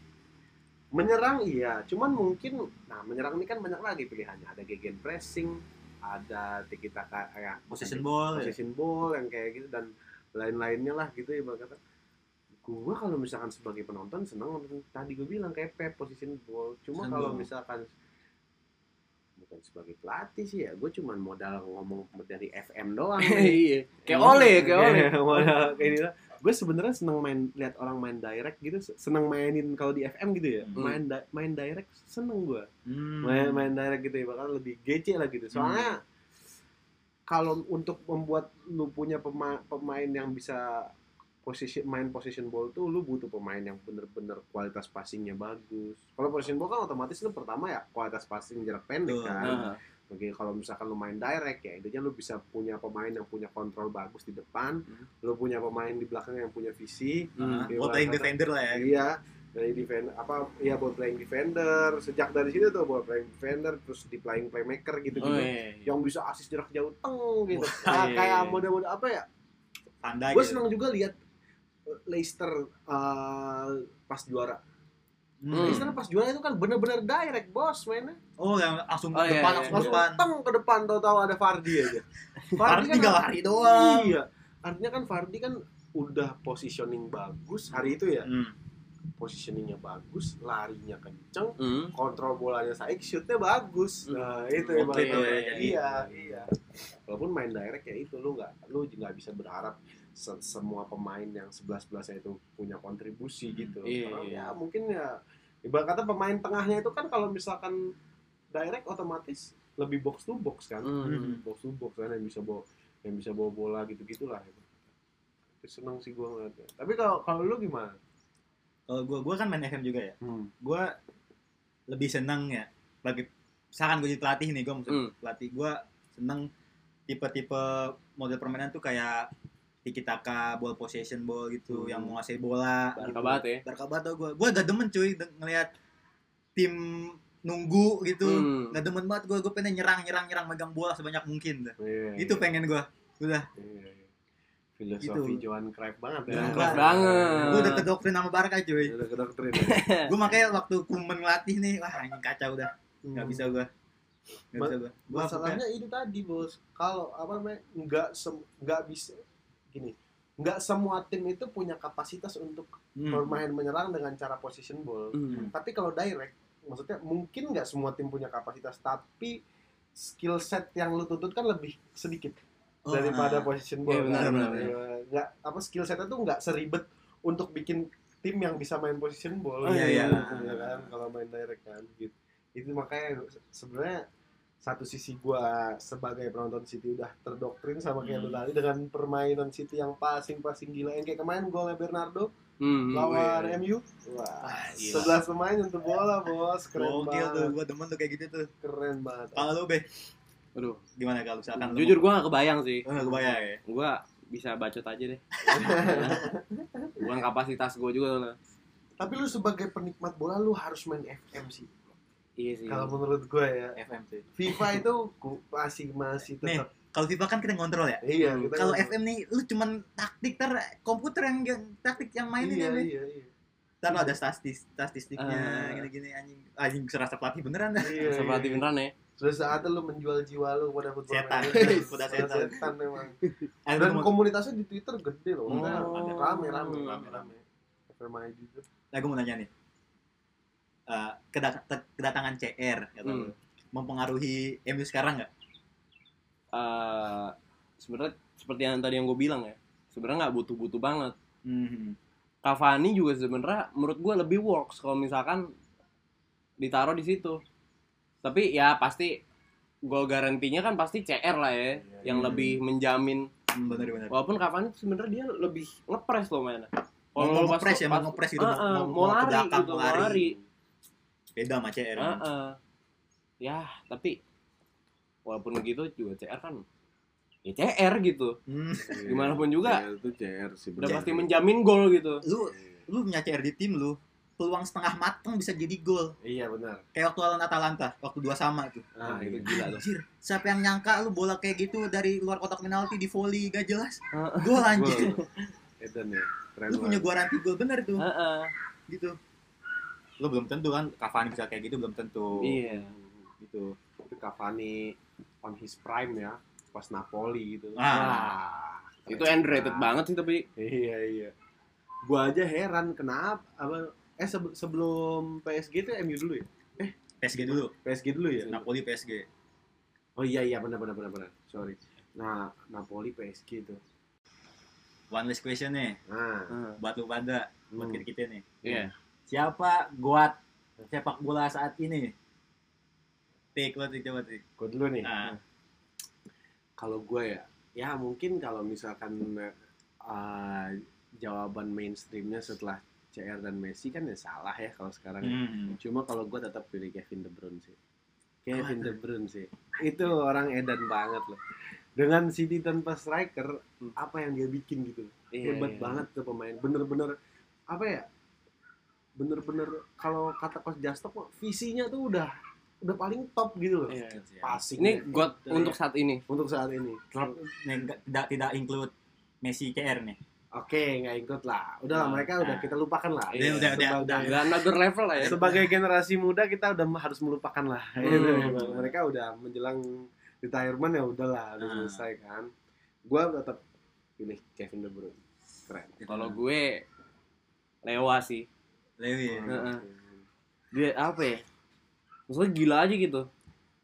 menyerang iya, cuman mungkin nah menyerang ini kan banyak lagi pilihannya. Ada gegen pressing, ada tiki taka kayak possession ball ya. possession ball yang kayak gitu dan lain-lainnya lah gitu ibarat kata. Gua kalau misalkan sebagai penonton senang nonton- tadi gue bilang kayak Pep position ball. Cuma Possession kalau ball. misalkan bukan sebagai pelatih sih ya, gue cuman modal ngomong dari FM doang. Iya. Kayak oleh, kayak oleh. Iya. kayak gitu. Gue sebenarnya seneng main lihat orang main direct gitu, seneng mainin kalau di FM gitu ya. Hmm. Main di- main direct seneng gue. Hmm. Main main direct gitu ya, bahkan lebih gece lah gitu. Soalnya kalau untuk membuat lu punya pema- pemain yang bisa posisi main position ball tuh lu butuh pemain yang bener-bener kualitas passingnya bagus. Kalau position ball kan otomatis lu pertama ya kualitas passing jarak pendek Betul. Nah, kan. Ah. Oke, kalau misalkan lu main direct ya, intinya lu bisa punya pemain yang punya kontrol bagus di depan, Hmm. lu punya pemain di belakang yang punya visi. Ah, Iya, ball playing kata- defender lah ya Iya, dari defend apa ya ball playing defender, sejak dari situ tuh ball playing defender terus di playing playmaker gitu Oh, gitu. iya. iya. Yang bisa assist jarak jauh teng gitu. Wah, Nah, iya, kayak iya. mode-mode apa ya? pandai Gue gitu senang juga lihat eh, Leicester eh, pas juara. Hmm. Leicester pas juara itu kan bener-bener direct bos mainnya. oh yang langsung Oh, ke iya, depan iya, langsung ke Langsung depan teng ke depan tahu-tahu ada Fardi aja. Fardi kan tinggal hari doang Iya. Artinya kan Fardi kan udah positioning bagus hari itu ya. Hmm. Positioningnya bagus, larinya kenceng, Hmm. kontrol bolanya saik, shootnya bagus. Nah, Hmm. itu Oke, yang bakal iya, iya. terjadi. Iya, iya. Walaupun main direct ya itu lu nggak lu nggak bisa berharap se- semua pemain yang 11-11 itu punya kontribusi Hmm, gitu. iya, Karena iya. ya mungkin ya ibarat kata pemain tengahnya itu kan kalau misalkan direct otomatis lebih box to box kan Hmm. box to box kan yang bisa bawa yang bisa bawa bola gitu gitulah itu seneng sih gua ngeliatnya tapi kalau kalau lu gimana kalau gue gue kan main FM juga ya hmm. gue lebih seneng ya bagi misalkan gue jadi pelatih nih gue maksud Hmm. pelatih gue seneng tipe-tipe model permainan tuh kayak tiki taka ball possession ball gitu Hmm. yang menguasai bola Barca banget ya. berkabat tau gue gue agak demen cuy de- ngelihat tim nunggu gitu Hmm. nggak demen banget gue gue pengen nyerang nyerang nyerang megang bola sebanyak mungkin dah. Iya, itu iya, pengen gue iya, iya. Gitu. Filosofi Gitu. Johan Cruyff banget ya. Johan Nah, Cruyff banget. gue udah kedoktrin sama Barca cuy Udah ya. ke dokter gue makanya waktu kumen ngelatih nih wah anjing kacau dah nggak bisa gue nggak bisa gue gue masalahnya itu tadi bos kalau apa namanya nggak sem- nggak bisa gini nggak semua tim itu punya kapasitas untuk Hmm. bermain menyerang dengan cara position ball Hmm. tapi kalau direct maksudnya mungkin nggak semua tim punya kapasitas tapi skill set yang lu tuntutkan lebih sedikit Oh, ah. daripada position ball Iya, benar, kan? benar, Iya, nggak apa skill setnya tuh nggak seribet untuk bikin tim yang bisa main position ball Oh, iya, gitu, iya. ya kan kalau main direct kan gitu itu makanya sebenarnya satu sisi gua sebagai penonton City udah terdoktrin sama kayak lu Hmm. tadi dengan permainan City yang passing-passing gila yang kayak kemarin golnya Bernardo Hmm. oh, lawan iya. MU wah Ah, gila. sebelas pemain untuk bola bos keren gokil tuh banget gue demen tuh kayak gitu tuh keren banget kalau lu be Aduh. gimana kalau misalkan lu- Jujur gue gak kebayang sih. Eh, kebayang ya Gue bisa bacot aja deh. Bukan kapasitas gue juga lah. tapi lu sebagai penikmat bola lu harus main FM sih Iya sih. kalau menurut gue ya FM sih FIFA itu ku- masih masih Nih. tetap kalau FIFA kan kita ngontrol ya iya Hmm. kita kalau kan- FM nih lu cuman taktik ter komputer yang, yang taktik yang mainin iya, ya Be. iya iya Ntar lu ada statistik Ah. statistiknya gini-gini anjing anjing serasa pelatih beneran dah. iya Bisa iya. berarti beneran ya. sudah saatnya lu menjual jiwa lu kepada football Setan. manager. Kuda Sudah setan. setan memang Ayo dan lu mau- komunitasnya di Twitter gede loh Oh. Nah, ada rame rame Hmm. rame rame FM ID itu nah, gua mau nanya nih. Eh, kedat- te- kedatangan CR kata lu. Hmm. Mempengaruhi MU sekarang nggak? Eh, sebenarnya seperti yang tadi yang gue bilang ya. Sebenarnya nggak butuh-butuh banget. Mhm. Cavani juga sebenarnya menurut gue lebih works kalau misalkan ditaruh di situ. Tapi ya pasti gol garantinya kan pasti CR lah ya, Iya, iya. yang lebih menjamin. Hmm, bener bener. Walaupun Cavani tuh sebenarnya dia lebih ngepres loh mainnya. Mau, Kalau mau pas- ngepres ya, mau pas- ngepres gitu, Ah, mau, ah, mau, mau mau ke lari belakang, gitu, mau mau lari. lari. Beda sama CR. Ah, ah. Ya, tapi walaupun begitu juga CR kan ya CR gitu. Hmm. Gimana Iya, pun juga. CR itu CR sih. Udah bener. pasti menjamin gol gitu. Lu lu punya CR di tim lu, peluang setengah mateng bisa jadi gol. Iya benar. Kayak waktu lawan Atalanta, waktu dua sama itu. Ah, Nah, itu gila itu tuh. Anjir, siapa yang nyangka lu bola kayak gitu dari luar kotak penalti di volley gak jelas. Heeh. Ah. Gol anjir. Eden ya. Keren lu punya banget. garansi gol bener tuh Ah, ah. gitu lu belum tentu kan Cavani bisa kayak gitu belum tentu Iya. gitu Itu Cavani on his prime ya. Pas Napoli gitu. Ah. Wah, Itu keren underrated banget sih tapi Iya iya. Gua aja heran kenapa apa eh sebe- sebelum PSG itu MU dulu ya? PSG dulu PSG dulu ya? Napoli PSG Oh iya iya benar benar benar benar. Sorry. Nah, Napoli PSG itu. one last question nih Nah, buat lu pada buat hmm. kita kita nih Iya. siapa guat sepak bola saat ini Tik, lo tik, coba tik. gua dulu nih. Ah, Nah, Kalau gue ya, ya mungkin kalau misalkan eh, jawaban mainstreamnya setelah CR dan Messi kan ya salah ya kalau sekarang. ya. hmm. Cuma kalau gue tetap pilih Kevin De Bruyne sih. Kevin De Bruyne sih. Itu orang edan banget loh. Dengan City tanpa striker, Hmm. apa yang dia bikin gitu. loh. Iya, Hebat iya. banget tuh pemain. Bener-bener apa ya? Bener-bener kalau kata Coach Jastok visinya tuh udah udah paling top gitu loh. Iya. Passing gitu. Ini god untuk saat ini. untuk saat ini. Klub nih, nggak- tidak tidak include Messi CR nih. Oke, nggak ikut lah. Udah lah, Nah, mereka udah nah. kita lupakan lah. Udah, udah, udah, Sebagai- udah. Dan another level lah ya. Sebagai generasi muda kita udah harus melupakan lah. Gitu, emang. mereka udah menjelang retirement ya udahlah, udah Nah. selesai kan. Gua tetap pilih Kevin De Bruyne. Keren. Kalau gue lewa sih. Iya, Lewi. Heeh. dia apa ya maksudnya gila aja gitu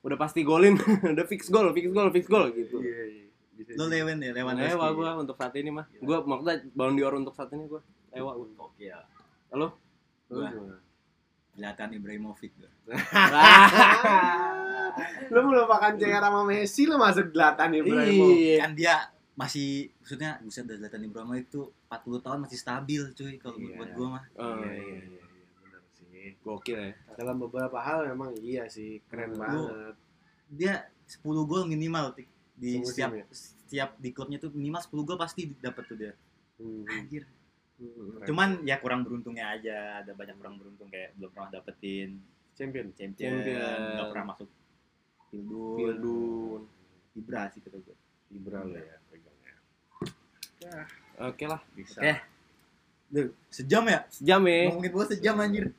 udah pasti golin udah fix gol fix gol fix gol gitu Iya, iya. Bisa Lo jadi. Lewin nih, Lewan lewa gue untuk saat ini mah gue maksudnya Ballon d'Or untuk saat ini gue lewa gue Gokil. Wah. Lu gimana? Zlatan Ibrahimovic gue. Lu melupakan CR sama Messi, lu masuk gelatan ya, Bro. iya kan dia masih maksudnya buset dari Zlatan Ibrahimovic itu 40 tahun masih stabil cuy kalau buat Iya. buat gua mah Eh, Iya, iya, iya, iya, benar sih. gokil ya Dalam beberapa hal memang iya sih, keren Lu- banget. dia 10 gol minimal Tik. di Semusim setiap ya? setiap di klubnya tuh minimal 10 gol pasti dapat tuh dia Hmm. anjir Keren. Hmm. cuman ya kurang beruntungnya aja ada banyak kurang beruntung kayak belum pernah dapetin Champion. Champion, Champion. nggak pernah masuk Pildun, Pildun. Ibra sih kata gue. Ibra lo ya pegangnya. Oke lah, Bisa. Oke. Duh, sejam ya? sejam ya. Ngomongin bola sejam anjir.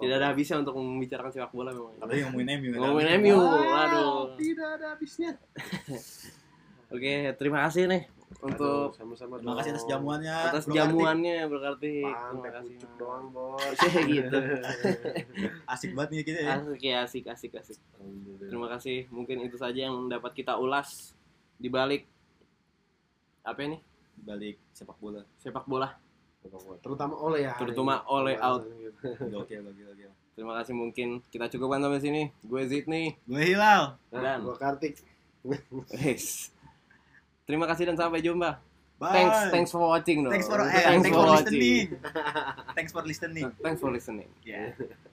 Tidak ada habisnya untuk membicarakan sepak bola memang. Apalagi ngomongin MU. kan? Ngomongin MU, aduh. Tidak ada habisnya. Oke, terima kasih nih Aduh, untuk sama-sama Terima kasih atas jamuannya. atas Bro jamuannya berarti. Terima Pantai kasih. pucuk doang, bos. Oke, gitu. Kartik. Asik banget nih kita ya. Asik ya, asik, asik, asik. Terima kasih. Mungkin itu saja yang dapat kita ulas di balik apa ini? Di Balik sepak bola. Sepak bola. Terutama oleh ya. Terutama oleh out. Gokil, gokil, gokil. Terima kasih mungkin kita cukupkan sampai sini. Gue Zidni. Gue Hilal. Nah, Dan- Dan gua Kartik. Yes. Terima kasih dan sampai jumpa. Bye. Thanks, thanks for watching. dong. Thanks for, eh, Thanks thanks for for watching. listening. thanks for listening. Thanks for listening. Yeah.